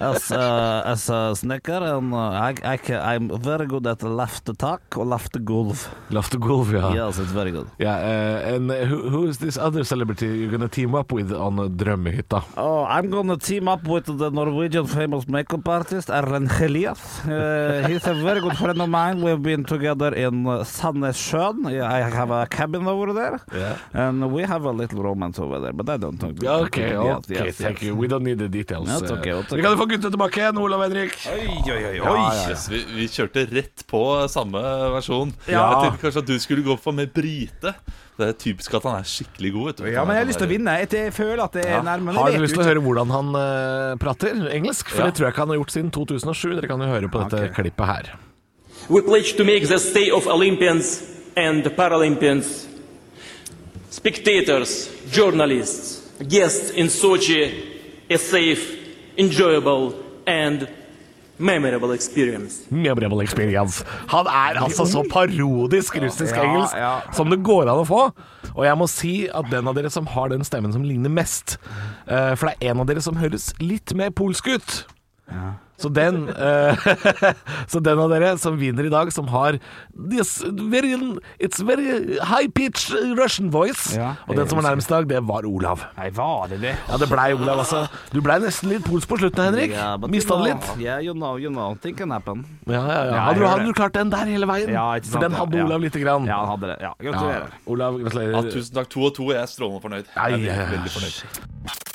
as uh, as a sneaker, and uh, I, I ca I'm very good at left attack or left golf.
Love to golf, yeah.
Yes, it's very good.
Yeah, uh, and uh, who, who is this other celebrity you're gonna team up with on uh, Drømmehytta?
Oh, I'm gonna team up with the Norwegian famous makeup artist Erlend Helias. Uh, he's a very good friend of mine. We've been together in uh, Sandnessjøen. I have a cabin over there, and we have a little romance over there. But I don't talk.
Ja, Ok, ok, thank you. We don't need the details.
Ja, takk, ja, takk.
Vi kan jo få gutta tilbake igjen, Olav Henrik.
Yes, vi, vi kjørte rett på samme versjon.
Ja.
Jeg tenkte kanskje at du skulle gå for med Brite. Det er typisk at han er skikkelig god. Vet du.
Ja, men jeg har lyst til å vinne. Jeg- Jeg føler at det er nærmere.
Har dere lyst til å høre hvordan han eh, prater engelsk? For det tror jeg ikke han har gjort siden 2007. Dere kan jo høre på dette klippet her.
We pledge to make the state of Olympians and Paralympians, spectators, journalists, guests in Sochi a safe, enjoyable, and memorable experience.
Memorable experience. Han er altså så parodisk russisk-engelsk
ja.
som det går an å få. Og jeg må si at den av dere som har den stemmen som ligner mest eh, For det er en av dere som høres litt mer polsk ut. Så den, eh, så den av dere som vinner i dag, som har this very, It's very high pitch Russian voice.
Ja,
og den som var nærmest i dag, det var Olav.
Nei, var det det?
Ja, det blei Olav, altså. Du blei nesten litt polsk på slutten, Henrik.
Yeah, but
Mista
you
det
know-
litt.
Yeah, you know, you know, thing can happen.
Ja, ja, ja.
Ja,
Hadde, du,
jeg gjør
hadde du klart den der hele veien?
Ja, ikke sant,
For
ja,
den hadde
ja.
Olav lite grann.
Ja, han hadde det. Ja,
Ja.
Gratulerer.
Olav,
Ja,
gratulerer.
tusen takk. To og to, jeg er strålende fornøyd.
Ai,
Jeg
ai,
er
ai.
veldig fornøyd.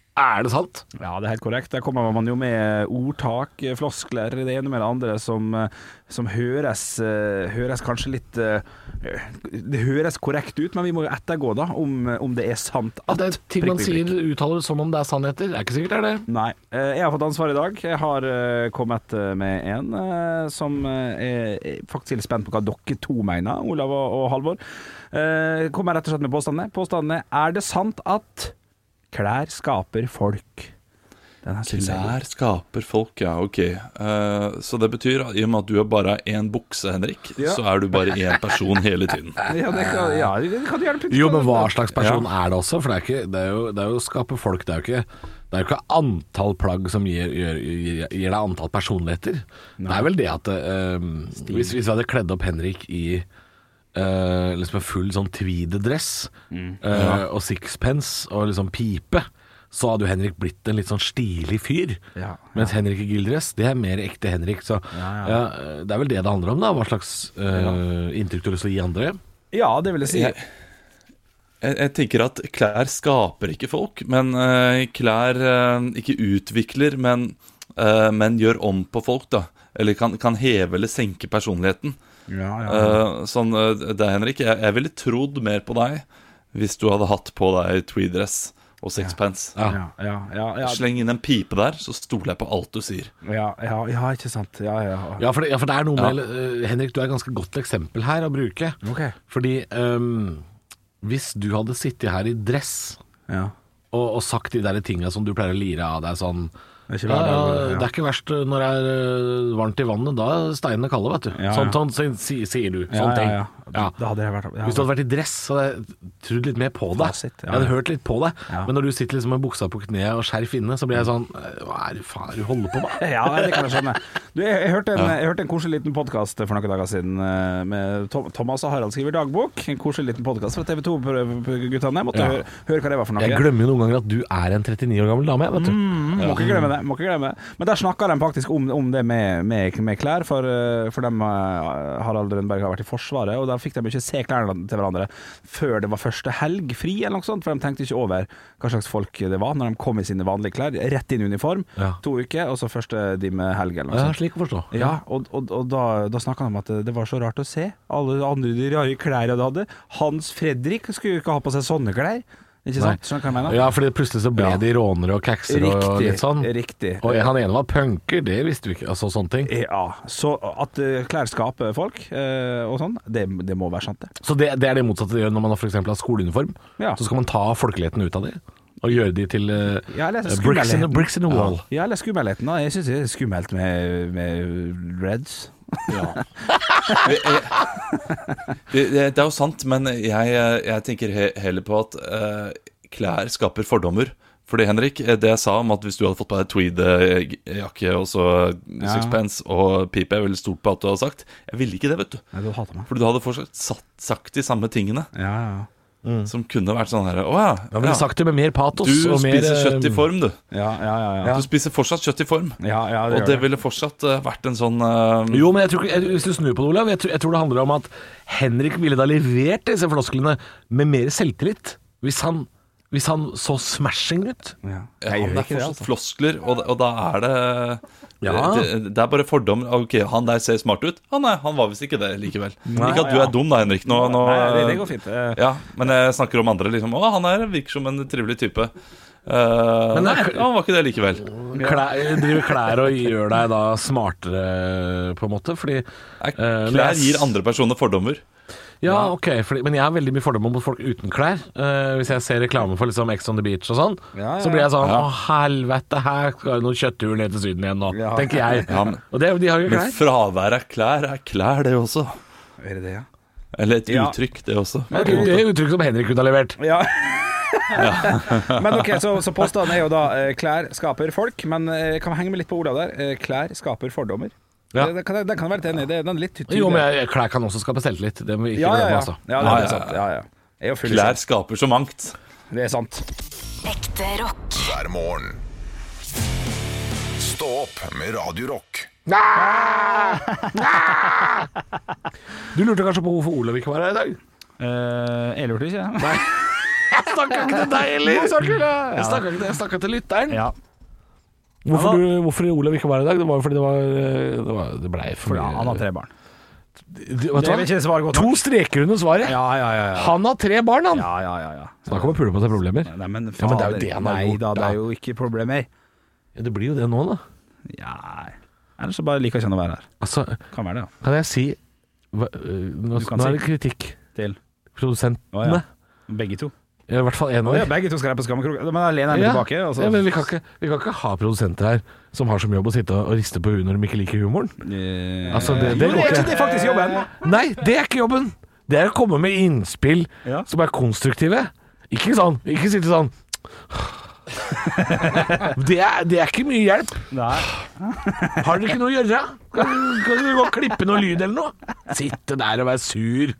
Er det sant?
Ja, det er helt korrekt. Der kommer man jo med ordtak, floskler, det ene med det andre, som, eh, som høres, eh, høres kanskje litt eh, Det høres korrekt ut, men vi må jo ettergå da, om, om det er sant at
At det er ting man
prikk, prikk,
sier, uttaler som om det er sannheter. Det er ikke sikkert det er det.
Nei. Eh, Jeg har fått ansvar i dag. Jeg har eh, kommet eh, med en eh, som eh, er faktisk litt spent på hva dere to mener, Olav og og Halvor. Eh, Kommer rett og slett med påstandene. Påstandene er det sant at klær skaper folk. Den her synes jeg er god.
Klær skaper folk, ja. Ok. Eh, så det betyr, at i og med at du er bare én bukse, Henrik,
Ja.
så er du bare én person hele tiden.
Ja, det kan, ja, det kan du gjerne putte
Jo,
på
men
den.
hva slags person er det også? For det er, ikke, det er, jo, det er jo å skape folk. Det er jo ikke, det er jo ikke antall plagg som gir, gir, gir, gir deg antall personligheter. Det er vel det at eh, hvis, hvis vi hadde kledd opp Henrik i eh, liksom en full sånn tweededress
Mm.
eh, og sixpence og liksom pipe, så hadde jo Henrik blitt en litt sånn stilig fyr.
Ja,
Mens Henrik i gilddress, det er mer ekte Henrik. Så
Ja, ja.
ja, det er vel det det handler om, da. Hva slags eh, inntrykk du har lyst til å gi andre.
Ja, det vil jeg si.
Jeg, jeg, jeg tenker at klær skaper ikke folk, men eh, klær eh, ikke utvikler, men, eh, men gjør om på folk, da. Eller kan, kan heve eller senke personligheten.
Ja, ja.
Eh, sånn, eh, det, Henrik, jeg, jeg ville trodd mer på deg hvis du hadde hatt på deg tweedress og sixpence.
Ja, ja, ja, ja,
Sleng inn en pipe der, så stoler jeg på alt du sier.
ja, ja, ja, ikke sant. Ja, ja. ja.
Ja, for det, ja, for det er noe med eh, Henrik, du er et ganske godt eksempel her å bruke.
Ok.
Fordi ehm, hvis du hadde sittet her i dress
ja.
og, og sagt de der tinga som du pleier å lire av deg sånn
Det er ikke
ja,
hver dag,
ja,
ja.
Det er ikke verst når det er eh, varmt i vannet. Da er steinene kalde, vet du.
Ja, ja.
Sånn, sånn, sånn si- sier du.
Ja,
Sånne ting.
ja, ja. Da hadde jeg vært ja.
Hvis du hadde vært i dress, så hadde jeg trodd litt mer på deg.
Fasit, ja.
Jeg hadde hørt litt på deg.
Ja.
Men når du sitter liksom med buksa på kneet og skjerf inne, så blir jeg sånn eh, Hva er det faen er det du holder på med?
Ja, det kan jeg skjønne. Du, jeg, jeg, hørte en, jeg hørte en koselig liten podkast for noen dager siden eh, med Tom, Thomas og Harald skriver dagbok. En koselig liten podkast fra TV 2-guttene. Jeg måtte
Ja.
høre, høre hva det var for noe.
Jeg glemmer jo noen ganger at du er en 39 år gammel dame, vet du.
Mm, må ikke glemme det. Må ikke glemme. det. Men der snakka de faktisk om, om det med, med, med klær, for, eh, for dem eh, Harald Rønberg har vært i Forsvaret, og der fikk de ikke se klærne til hverandre før det var første helg fri, eller noe sånt, for de tenkte ikke over hva slags folk det var når de kom i sine vanlige klær. Rett inn i uniform,
Ja.
to uker, og så første dimme helg, eller noe
Ja,
sånt.
slik å forstå.
Altså. Ja, og, og, og da, da snakka han om at det var så rart å se alle de andre de rare klærne de hadde. Hans Fredrik skulle jo ikke ha på seg sånne klær. Ikke sant? Skjønner du hva jeg mener?
Ja, fordi plutselig så ble
Ja.
de rånere og kakser og litt sånn.
riktig.
Og han ene var punker, det visste vi ikke. Altså sånne ting.
Ja, så at eh, klær skaper folk eh, og sånn, det, det må være sant, det.
Så det, det er det motsatte det gjør når man f.eks. har skoleuniform.
Ja.
Så skal man ta folkeligheten ut av det, og gjøre de til eh,
Ja, eller
eh, bricks, in,
skummelheten.
bricks in a wall.
Ja, eller skummelheten, da. Jeg syns det er skummelt med, med reds.
Eh, Det, det, det er jo sant, men jeg, jeg tenker he, heller på at eh, klær skaper fordommer. Fordi, Henrik, eh, det jeg sa om at hvis du hadde fått på deg tweed-jakke og så
Ja.
sixpence og pipe, jeg er veldig stolt på at du hadde sagt Jeg ville ikke det, vet du.
Nei, du hater meg.
For du hadde fortsatt sagt, sagt de samme tingene
Ja, ja.
som kunne vært sånn her Å ja,
Man ville
ja,
sagt det med mer
du
patos. og mer,
spiser
eh,
kjøtt i form, du.
Ja, ja, ja. ja.
Du spiser fortsatt kjøtt i form.
ja, ja
Og
gjør
det ville fortsatt eh, vært en sånn eh,
Jo, men jeg tror, ikke- jeg, hvis du snur på det, Olav, jeg tror, jeg tror det handler om at Henrik ville da levert disse flosklene med mer selvtillit. Hvis han, hvis han så smashing ut.
Ja.
Ja,
Jeg
men
gjør ikke
det er
det,
fortsatt
altså.
floskler, og, og da er det,
Ja.
det Det er bare fordommer. Ok, han der ser smart ut. Han, er, han var visst ikke det likevel. ikke at du
ja.
er dum da, Henrik. Nå, nå,
Nei, det, det går fint. Eh,
Ja, men jeg snakker om andre. liksom Å, han her virker som en trivelig type. Eh,
Men
nei,
det er-
han var ikke det likevel.
Klær, driver klær og gjør deg da smartere, på en måte. Fordi
Nei,
Eh, men
Klær
jeg-
gir andre personer fordommer.
Ja, ok, fordi, men jeg har veldig mye fordommer mot folk uten klær. Eh, hvis jeg ser reklame for liksom Ex on the Beach og sånn,
Ja, ja,
så blir jeg sånn
ja.
Å, helvete, her skal det noen kjøttur ned til Syden igjen nå,
Ja.
tenker jeg.
Ja, men-
Og det, de har jo
Men
klær.
fravær av klær er klær, det også.
Er det det, ja?
Eller et
Ja.
uttrykk, det også.
Det er uttrykk som Henrik kunne ha levert.
Ja. men ok, så, så påstanden er jo da eh, klær skaper folk, men eh, kan vi henge med litt på Olav der? Eh, klær skaper fordommer.
Ja.
Det, det kan, jeg- den kan jeg være litt enig i. Det- Den er litt tydelig.
Jo, men jeg- klær kan også skape selvtillit. Det må vi ikke
ja, ja,
glemme,
ja.
altså.
ja, det
Nei,
er sant. Ja, ja. Jeg er jo full i
Klær
sant.
skaper så mangt.
Det er sant.
Ekte rock.
hver morgen. Stå opp med Radio Rock.
Du lurte kanskje på hvorfor Olav ikke var her i dag?
Eh, jeg lurte ikke. Nei.
Jeg snakka ikke til deg heller! Jeg snakka ikke, jeg snakket til lytteren.
Ja.
Hvorfor, du, hvorfor Olav ikke var her i dag? Det var jo fordi det var eh, Det, var, det blei for
For ja, han har
mye
tre barn.
Det- vet du
Det
hva?
vil ikke svare godt nok.
To streker under svaret.
Ja, ja, ja. ja.
Han har tre barn, han!
Ja, ja, ja, ja.
Snakk om å pule på seg problemer.
Nei, men,
Ja, men det er jo
fader.
det han har
Nei,
gjort,
da, det
da.
er jo ikke problemer.
Ja, det blir jo det nå, da.
Nei. Ellers så bare liker jeg ikke han å være her.
Altså,
Kan være det, ja.
kan jeg si hva, øh, nå,
Du kan
nå
si.
er det kritikk.
Til
Produsentene.
Å, ja. Begge to.
Ja, I hvert fall én av
Å ja,
dem.
begge to skal være på skammekroken. Men da lener jeg meg
Ja.
tilbake. altså. Og så,
Ja, men vi kan, ikke, vi kan ikke ha produsenter her som har som jobb å sitte og riste på huet når de ikke liker humoren.
Eh,
Altså, det, det
jo,
går
det er
ikke.
ikke det faktisk jobben.
Nei, det er ikke jobben! Det er å komme med innspill
Ja.
som er konstruktive. Ikke sånn. Ikke sitte sånn det er, det er ikke mye hjelp.
Nei.
Har dere ikke noe å gjøre? Kan, kan dere gå og klippe noe lyd eller noe? Sitte der og være sur.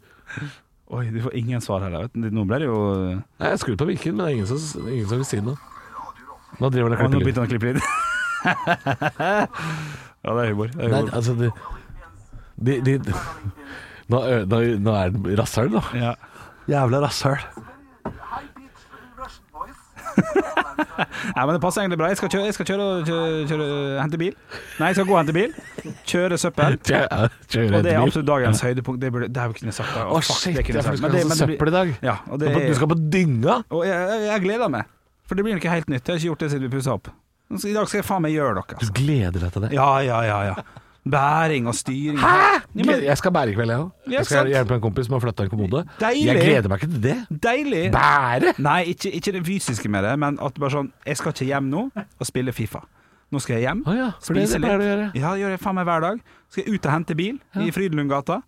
Oi, du får ingen svar her. da, Vet. du. Nå ble det jo Å,
Nei, Jeg skrur på vinken, men det er ingen som, ingen som vil si noe. Nå driver han
Nå
og klipper lyd.
begynte han å klippe litt. ja, det er humor. Det er
Nei,
humor.
altså de, de, de, nå, ø- nå, nå er det rasshøl, da.
Ja.
Jævla rasshøl.
Nei, men det passer egentlig bra. Jeg skal kjøre, jeg skal kjøre, og kjøre, kjøre hente bil. Nei, jeg skal gå og hente bil. Kjøre søppel.
Kjører
Og det er
etter bil.
absolutt dagens høydepunkt. Det, burde, det er jo kunne jeg sagt. da.
Å,
fuck,
shit.
det kunne
Jeg
jeg sagt. Men
skal
det- men det
ha
blir-
søppel i dag.
Ja, og det
Du
er,
skal på dynga.
og jeg, jeg, jeg gleder meg. For det blir jo ikke helt nytt. Jeg har ikke gjort det siden vi pussa opp. Nå skal- I dag skal jeg faen meg gjøre noe.
Du
Altså.
gleder deg til det.
Ja, ja, ja. ja Bæring og styring.
Hæ?
Ja, men-
Jeg skal bære i kveld, jeg òg.
Ja,
Jeg skal
sant.
hjelpe en kompis med å flytte en kommode.
Deilig.
Jeg gleder meg ikke til det.
Deilig!
Bære!
Nei, ikke, ikke det fysiske med det, men at bare sånn Jeg skal ikke hjem nå og spille Fifa. Nå skal jeg hjem,
Å ja, for det- det pleier du å gjøre.
Ja, det gjør jeg faen meg hver dag. Skal jeg ut og hente bil i Frydenlundgata.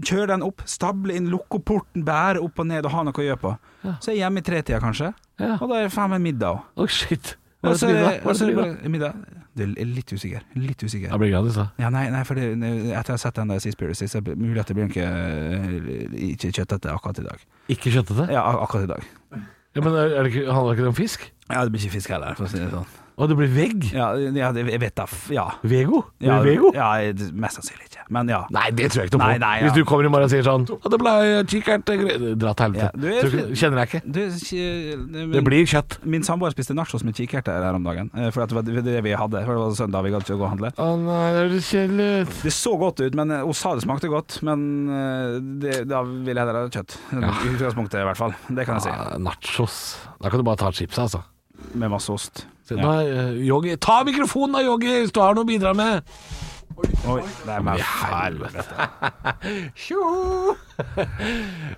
Kjøre den opp, stable inn, lukke opp porten, bære opp og ned og ha noe å gjøre på. Så er jeg hjemme i tretida, kanskje.
Ja.
Og da er det faen meg middag òg.
Å, shit. Hva
Og
er det
så
til
er
middag?
det-
Hva
og
er
så
det
er det
til middag?
bare middag. Det er litt usikker. Litt usikker.
Det blir altså. gratis, da.
Ja, nei, nei for det, etter jeg har sett den der Sea Spirit sist, så er det mulig at det blir ikke, ikke kjøttete akkurat i dag.
Ikke kjøttete?
Ja, ak- akkurat i dag.
Ja, men er det ikke, handler ikke det om fisk?
Ja, det blir ikke fisk heller, for å si det sånn.
Å, det blir vegg?
Ja, ja det- jeg vet da. f- Ja.
Vego? Blir
ja,
det Vego?
ja det- mest sannsynlig ikke. Men ja.
Nei, det tror jeg ikke noe på.
Nei, nei, ja.
Hvis du kommer i morgen og sier sånn «Å, 'Det ble kikkert' det gre- Dra til
Ja,
helvete.
du er-
Tror ikke- Kjenner jeg ikke.
Du, ikke-
Det blir kjøtt.
Min samboer spiste nachos med kikerter her om dagen, eh, for at det var det- det vi hadde. For det var søndag vi gadd ikke å gå og handle.
Å nei, det høres kjedelig ut.
Det så godt ut, men eh, hun sa det smakte godt. Men eh, det, da vil jeg heller ha kjøtt. I utgangspunktet, i hvert fall. Det kan jeg si.
Ah, nachos. Da kan du bare ta chipsa, altså.
Med masse ost.
Se,
Ja.
nå er, eh, Yogi Ta mikrofonen da, Yogi, hvis du har noe å bidra med!
Oi, det er meg. Helvete.
Tjo!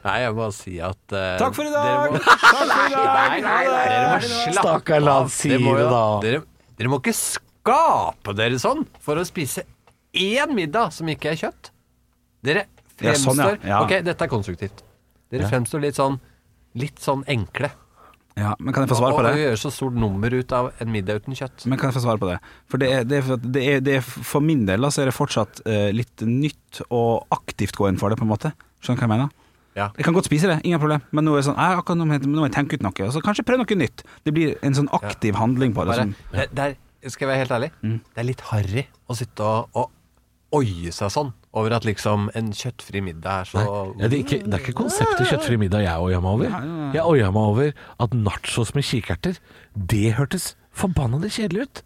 Nei, jeg må si at eh,
Takk for i
Dere
dag!
må-
Takk for i
Nei,
dag!
nei, nei, dere må slappe
Stakkar, la han si
Dere
det,
må jo-
da.
Dere, dere må ikke skape dere sånn for å spise én middag som ikke er kjøtt. Dere
Ja,
fremstår
sånn, ja. Ja.
Ok, dette er konstruktivt. Dere fremstår litt sånn litt sånn enkle.
Ja, men kan jeg få svar
Og,
på
og
det?
gjør så stort nummer ut av en middag uten kjøtt.
Men kan jeg få svare på det? For, det er, det er, for at det er, det er for min del da, så er det fortsatt eh, litt nytt og aktivt gå inn for det, på en måte. Skjønner du hva jeg mener?
Ja.
Jeg kan godt spise det, ingen problem, men nå er det sånn «Nei, akkurat nå må jeg, nå må jeg tenke ut noe. Så kanskje prøv noe nytt. Det blir en sånn aktiv handling på det.
Bare,
Som,
sånn-
det, det er, skal jeg være helt ærlig,
Mm.
det er litt harry å sitte og, og oie seg sånn over at liksom en kjøttfri middag er så
Ja, det, er ikke, det er ikke konseptet kjøttfri middag jeg oia meg over. Jeg oia meg over at nachos med kikerter, det hørtes forbanna kjedelig ut.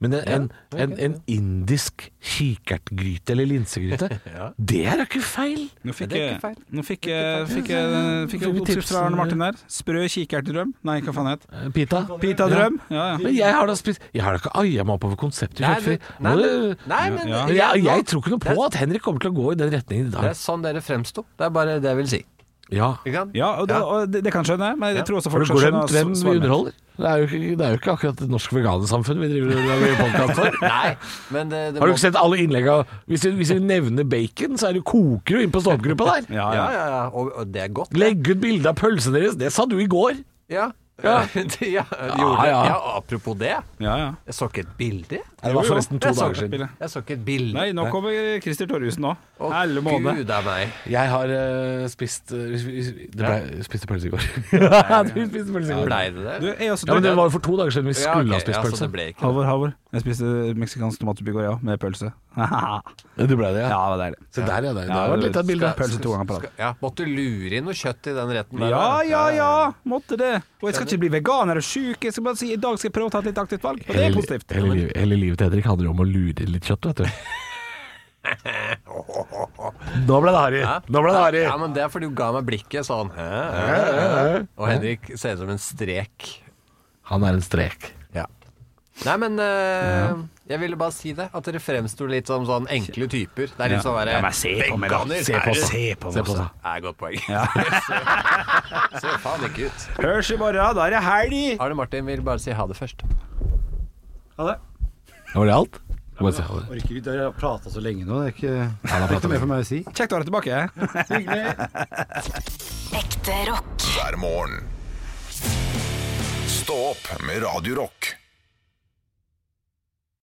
Men en, en, en, en indisk kikertgryte eller linsegryte, det er da ikke feil.
nå fikk
det er ikke
jeg,
feil.
nå fikk jeg, fikk jeg, fikk jeg
Fikk vi
oppskrift fra
tips?
Arne Martin der. Sprø kikertdrøm. Nei, hva faen het det?
Eh, Pita.
Pitadrøm. Ja,
Ja.
ja.
Men jeg har da spist Jeg har da ikke oia meg opp over konseptet
Nei,
kjøttfri.
du- nei,
Nå-
men- nei, men-
Ja.
ja,
jeg,
nå-
jeg tror ikke noe
det
på at Henrik kommer til å gå i den retningen i
Det er
dag.
sånn dere fremsto. Det er bare det jeg vil si.
Ja.
Ja, og det, og det, det kan jeg skjønne, men jeg tror også folk
Har du
skal skjønne
glemt hvem
s-
vi
svaret mitt.
underholder? Det er jo ikke, det er jo ikke akkurat det norske veganersamfunn vi driver og lager podcast for.
Nei, men eh, det, det
Har du
må-
ikke sett alle innlegga? Hvis, vi- hvis vi nevner bacon, så er det koker jo inn på stålgruppa der.
Ja, ja, ja. Og, og det er godt.
Legg ut bilde av pølsene deres. Det sa du i går.
Ja.
Ja.
Det- ja,
Ja,
gjorde det.
ja.
ja, apropos det.
Ja, ja.
Jeg så ikke et bilde.
Det var
Jo, jo.
forresten to
Jeg så
dager
det
siden.
bildet.
Jeg så ikke et bilde.
Nei, nå kommer Christer Torjussen nå.
Å,
Helle måned.
Gud a meg.
Jeg har eh, spist eh, hvis- hvis- Det ble, spiste pølse i går. Du spiste pølse i går.
Blei det det?
Du, jeg også
Ja, men det var jo for to dager siden vi
Ja,
skulle
ok,
ha
ja,
spist
så
pølse.
det ble ikke
Halvor, Halvor. Jeg spiste meksikansk tomatsuppe i går, ja, med pølse. ja,
Du ble det, ja.
det var deilig.
Se der, ja. Det, det
Ja,
var litt av et bilde.
skal- Pølse to ganger på rad.
Skal- Ja, måtte lure inn noe kjøtt i den retten der.
Ja,
da.
ja, ja! Måtte det. Og jeg skal ikke bli veganer og sjuk. Jeg skal bare si i dag skal jeg prøve å ta et litt aktivt valg. Og det er
Hele,
positivt.
hele, liv- hele livet til Henrik handler jo om å lure litt kjøtt, vet du. Nå ble det harry. Nå ble det harry.
Ja, men det er fordi du ga meg blikket sånn. Hæ? Hæ? Hæ? Og Henrik ser ut som en strek.
Han er en strek.
Ja. Nei, men eh, jeg ville bare si det. At dere fremsto litt som sånn enkle typer. Det er litt sånn derre
Ja, men se på meg, da.
veganer.
Se på
er
oss, da.
det-
Se på
Se
oss,
på oss,
da.
da. Er et godt poeng. Ser- Ser faen ikke ut.
Hørs i morgen, da er det helg!
Arne Martin vil bare si ha det først.
Ha det.
Var det alt? Skal bare si ha det.
Orker ikke, dere har prata så lenge nå. Det er ikke, det
Han har
er
pratet
ikke mer for meg å si.
Kjekt å være tilbake.
Ekte rock.
hver morgen. Stå opp med Radio Rock.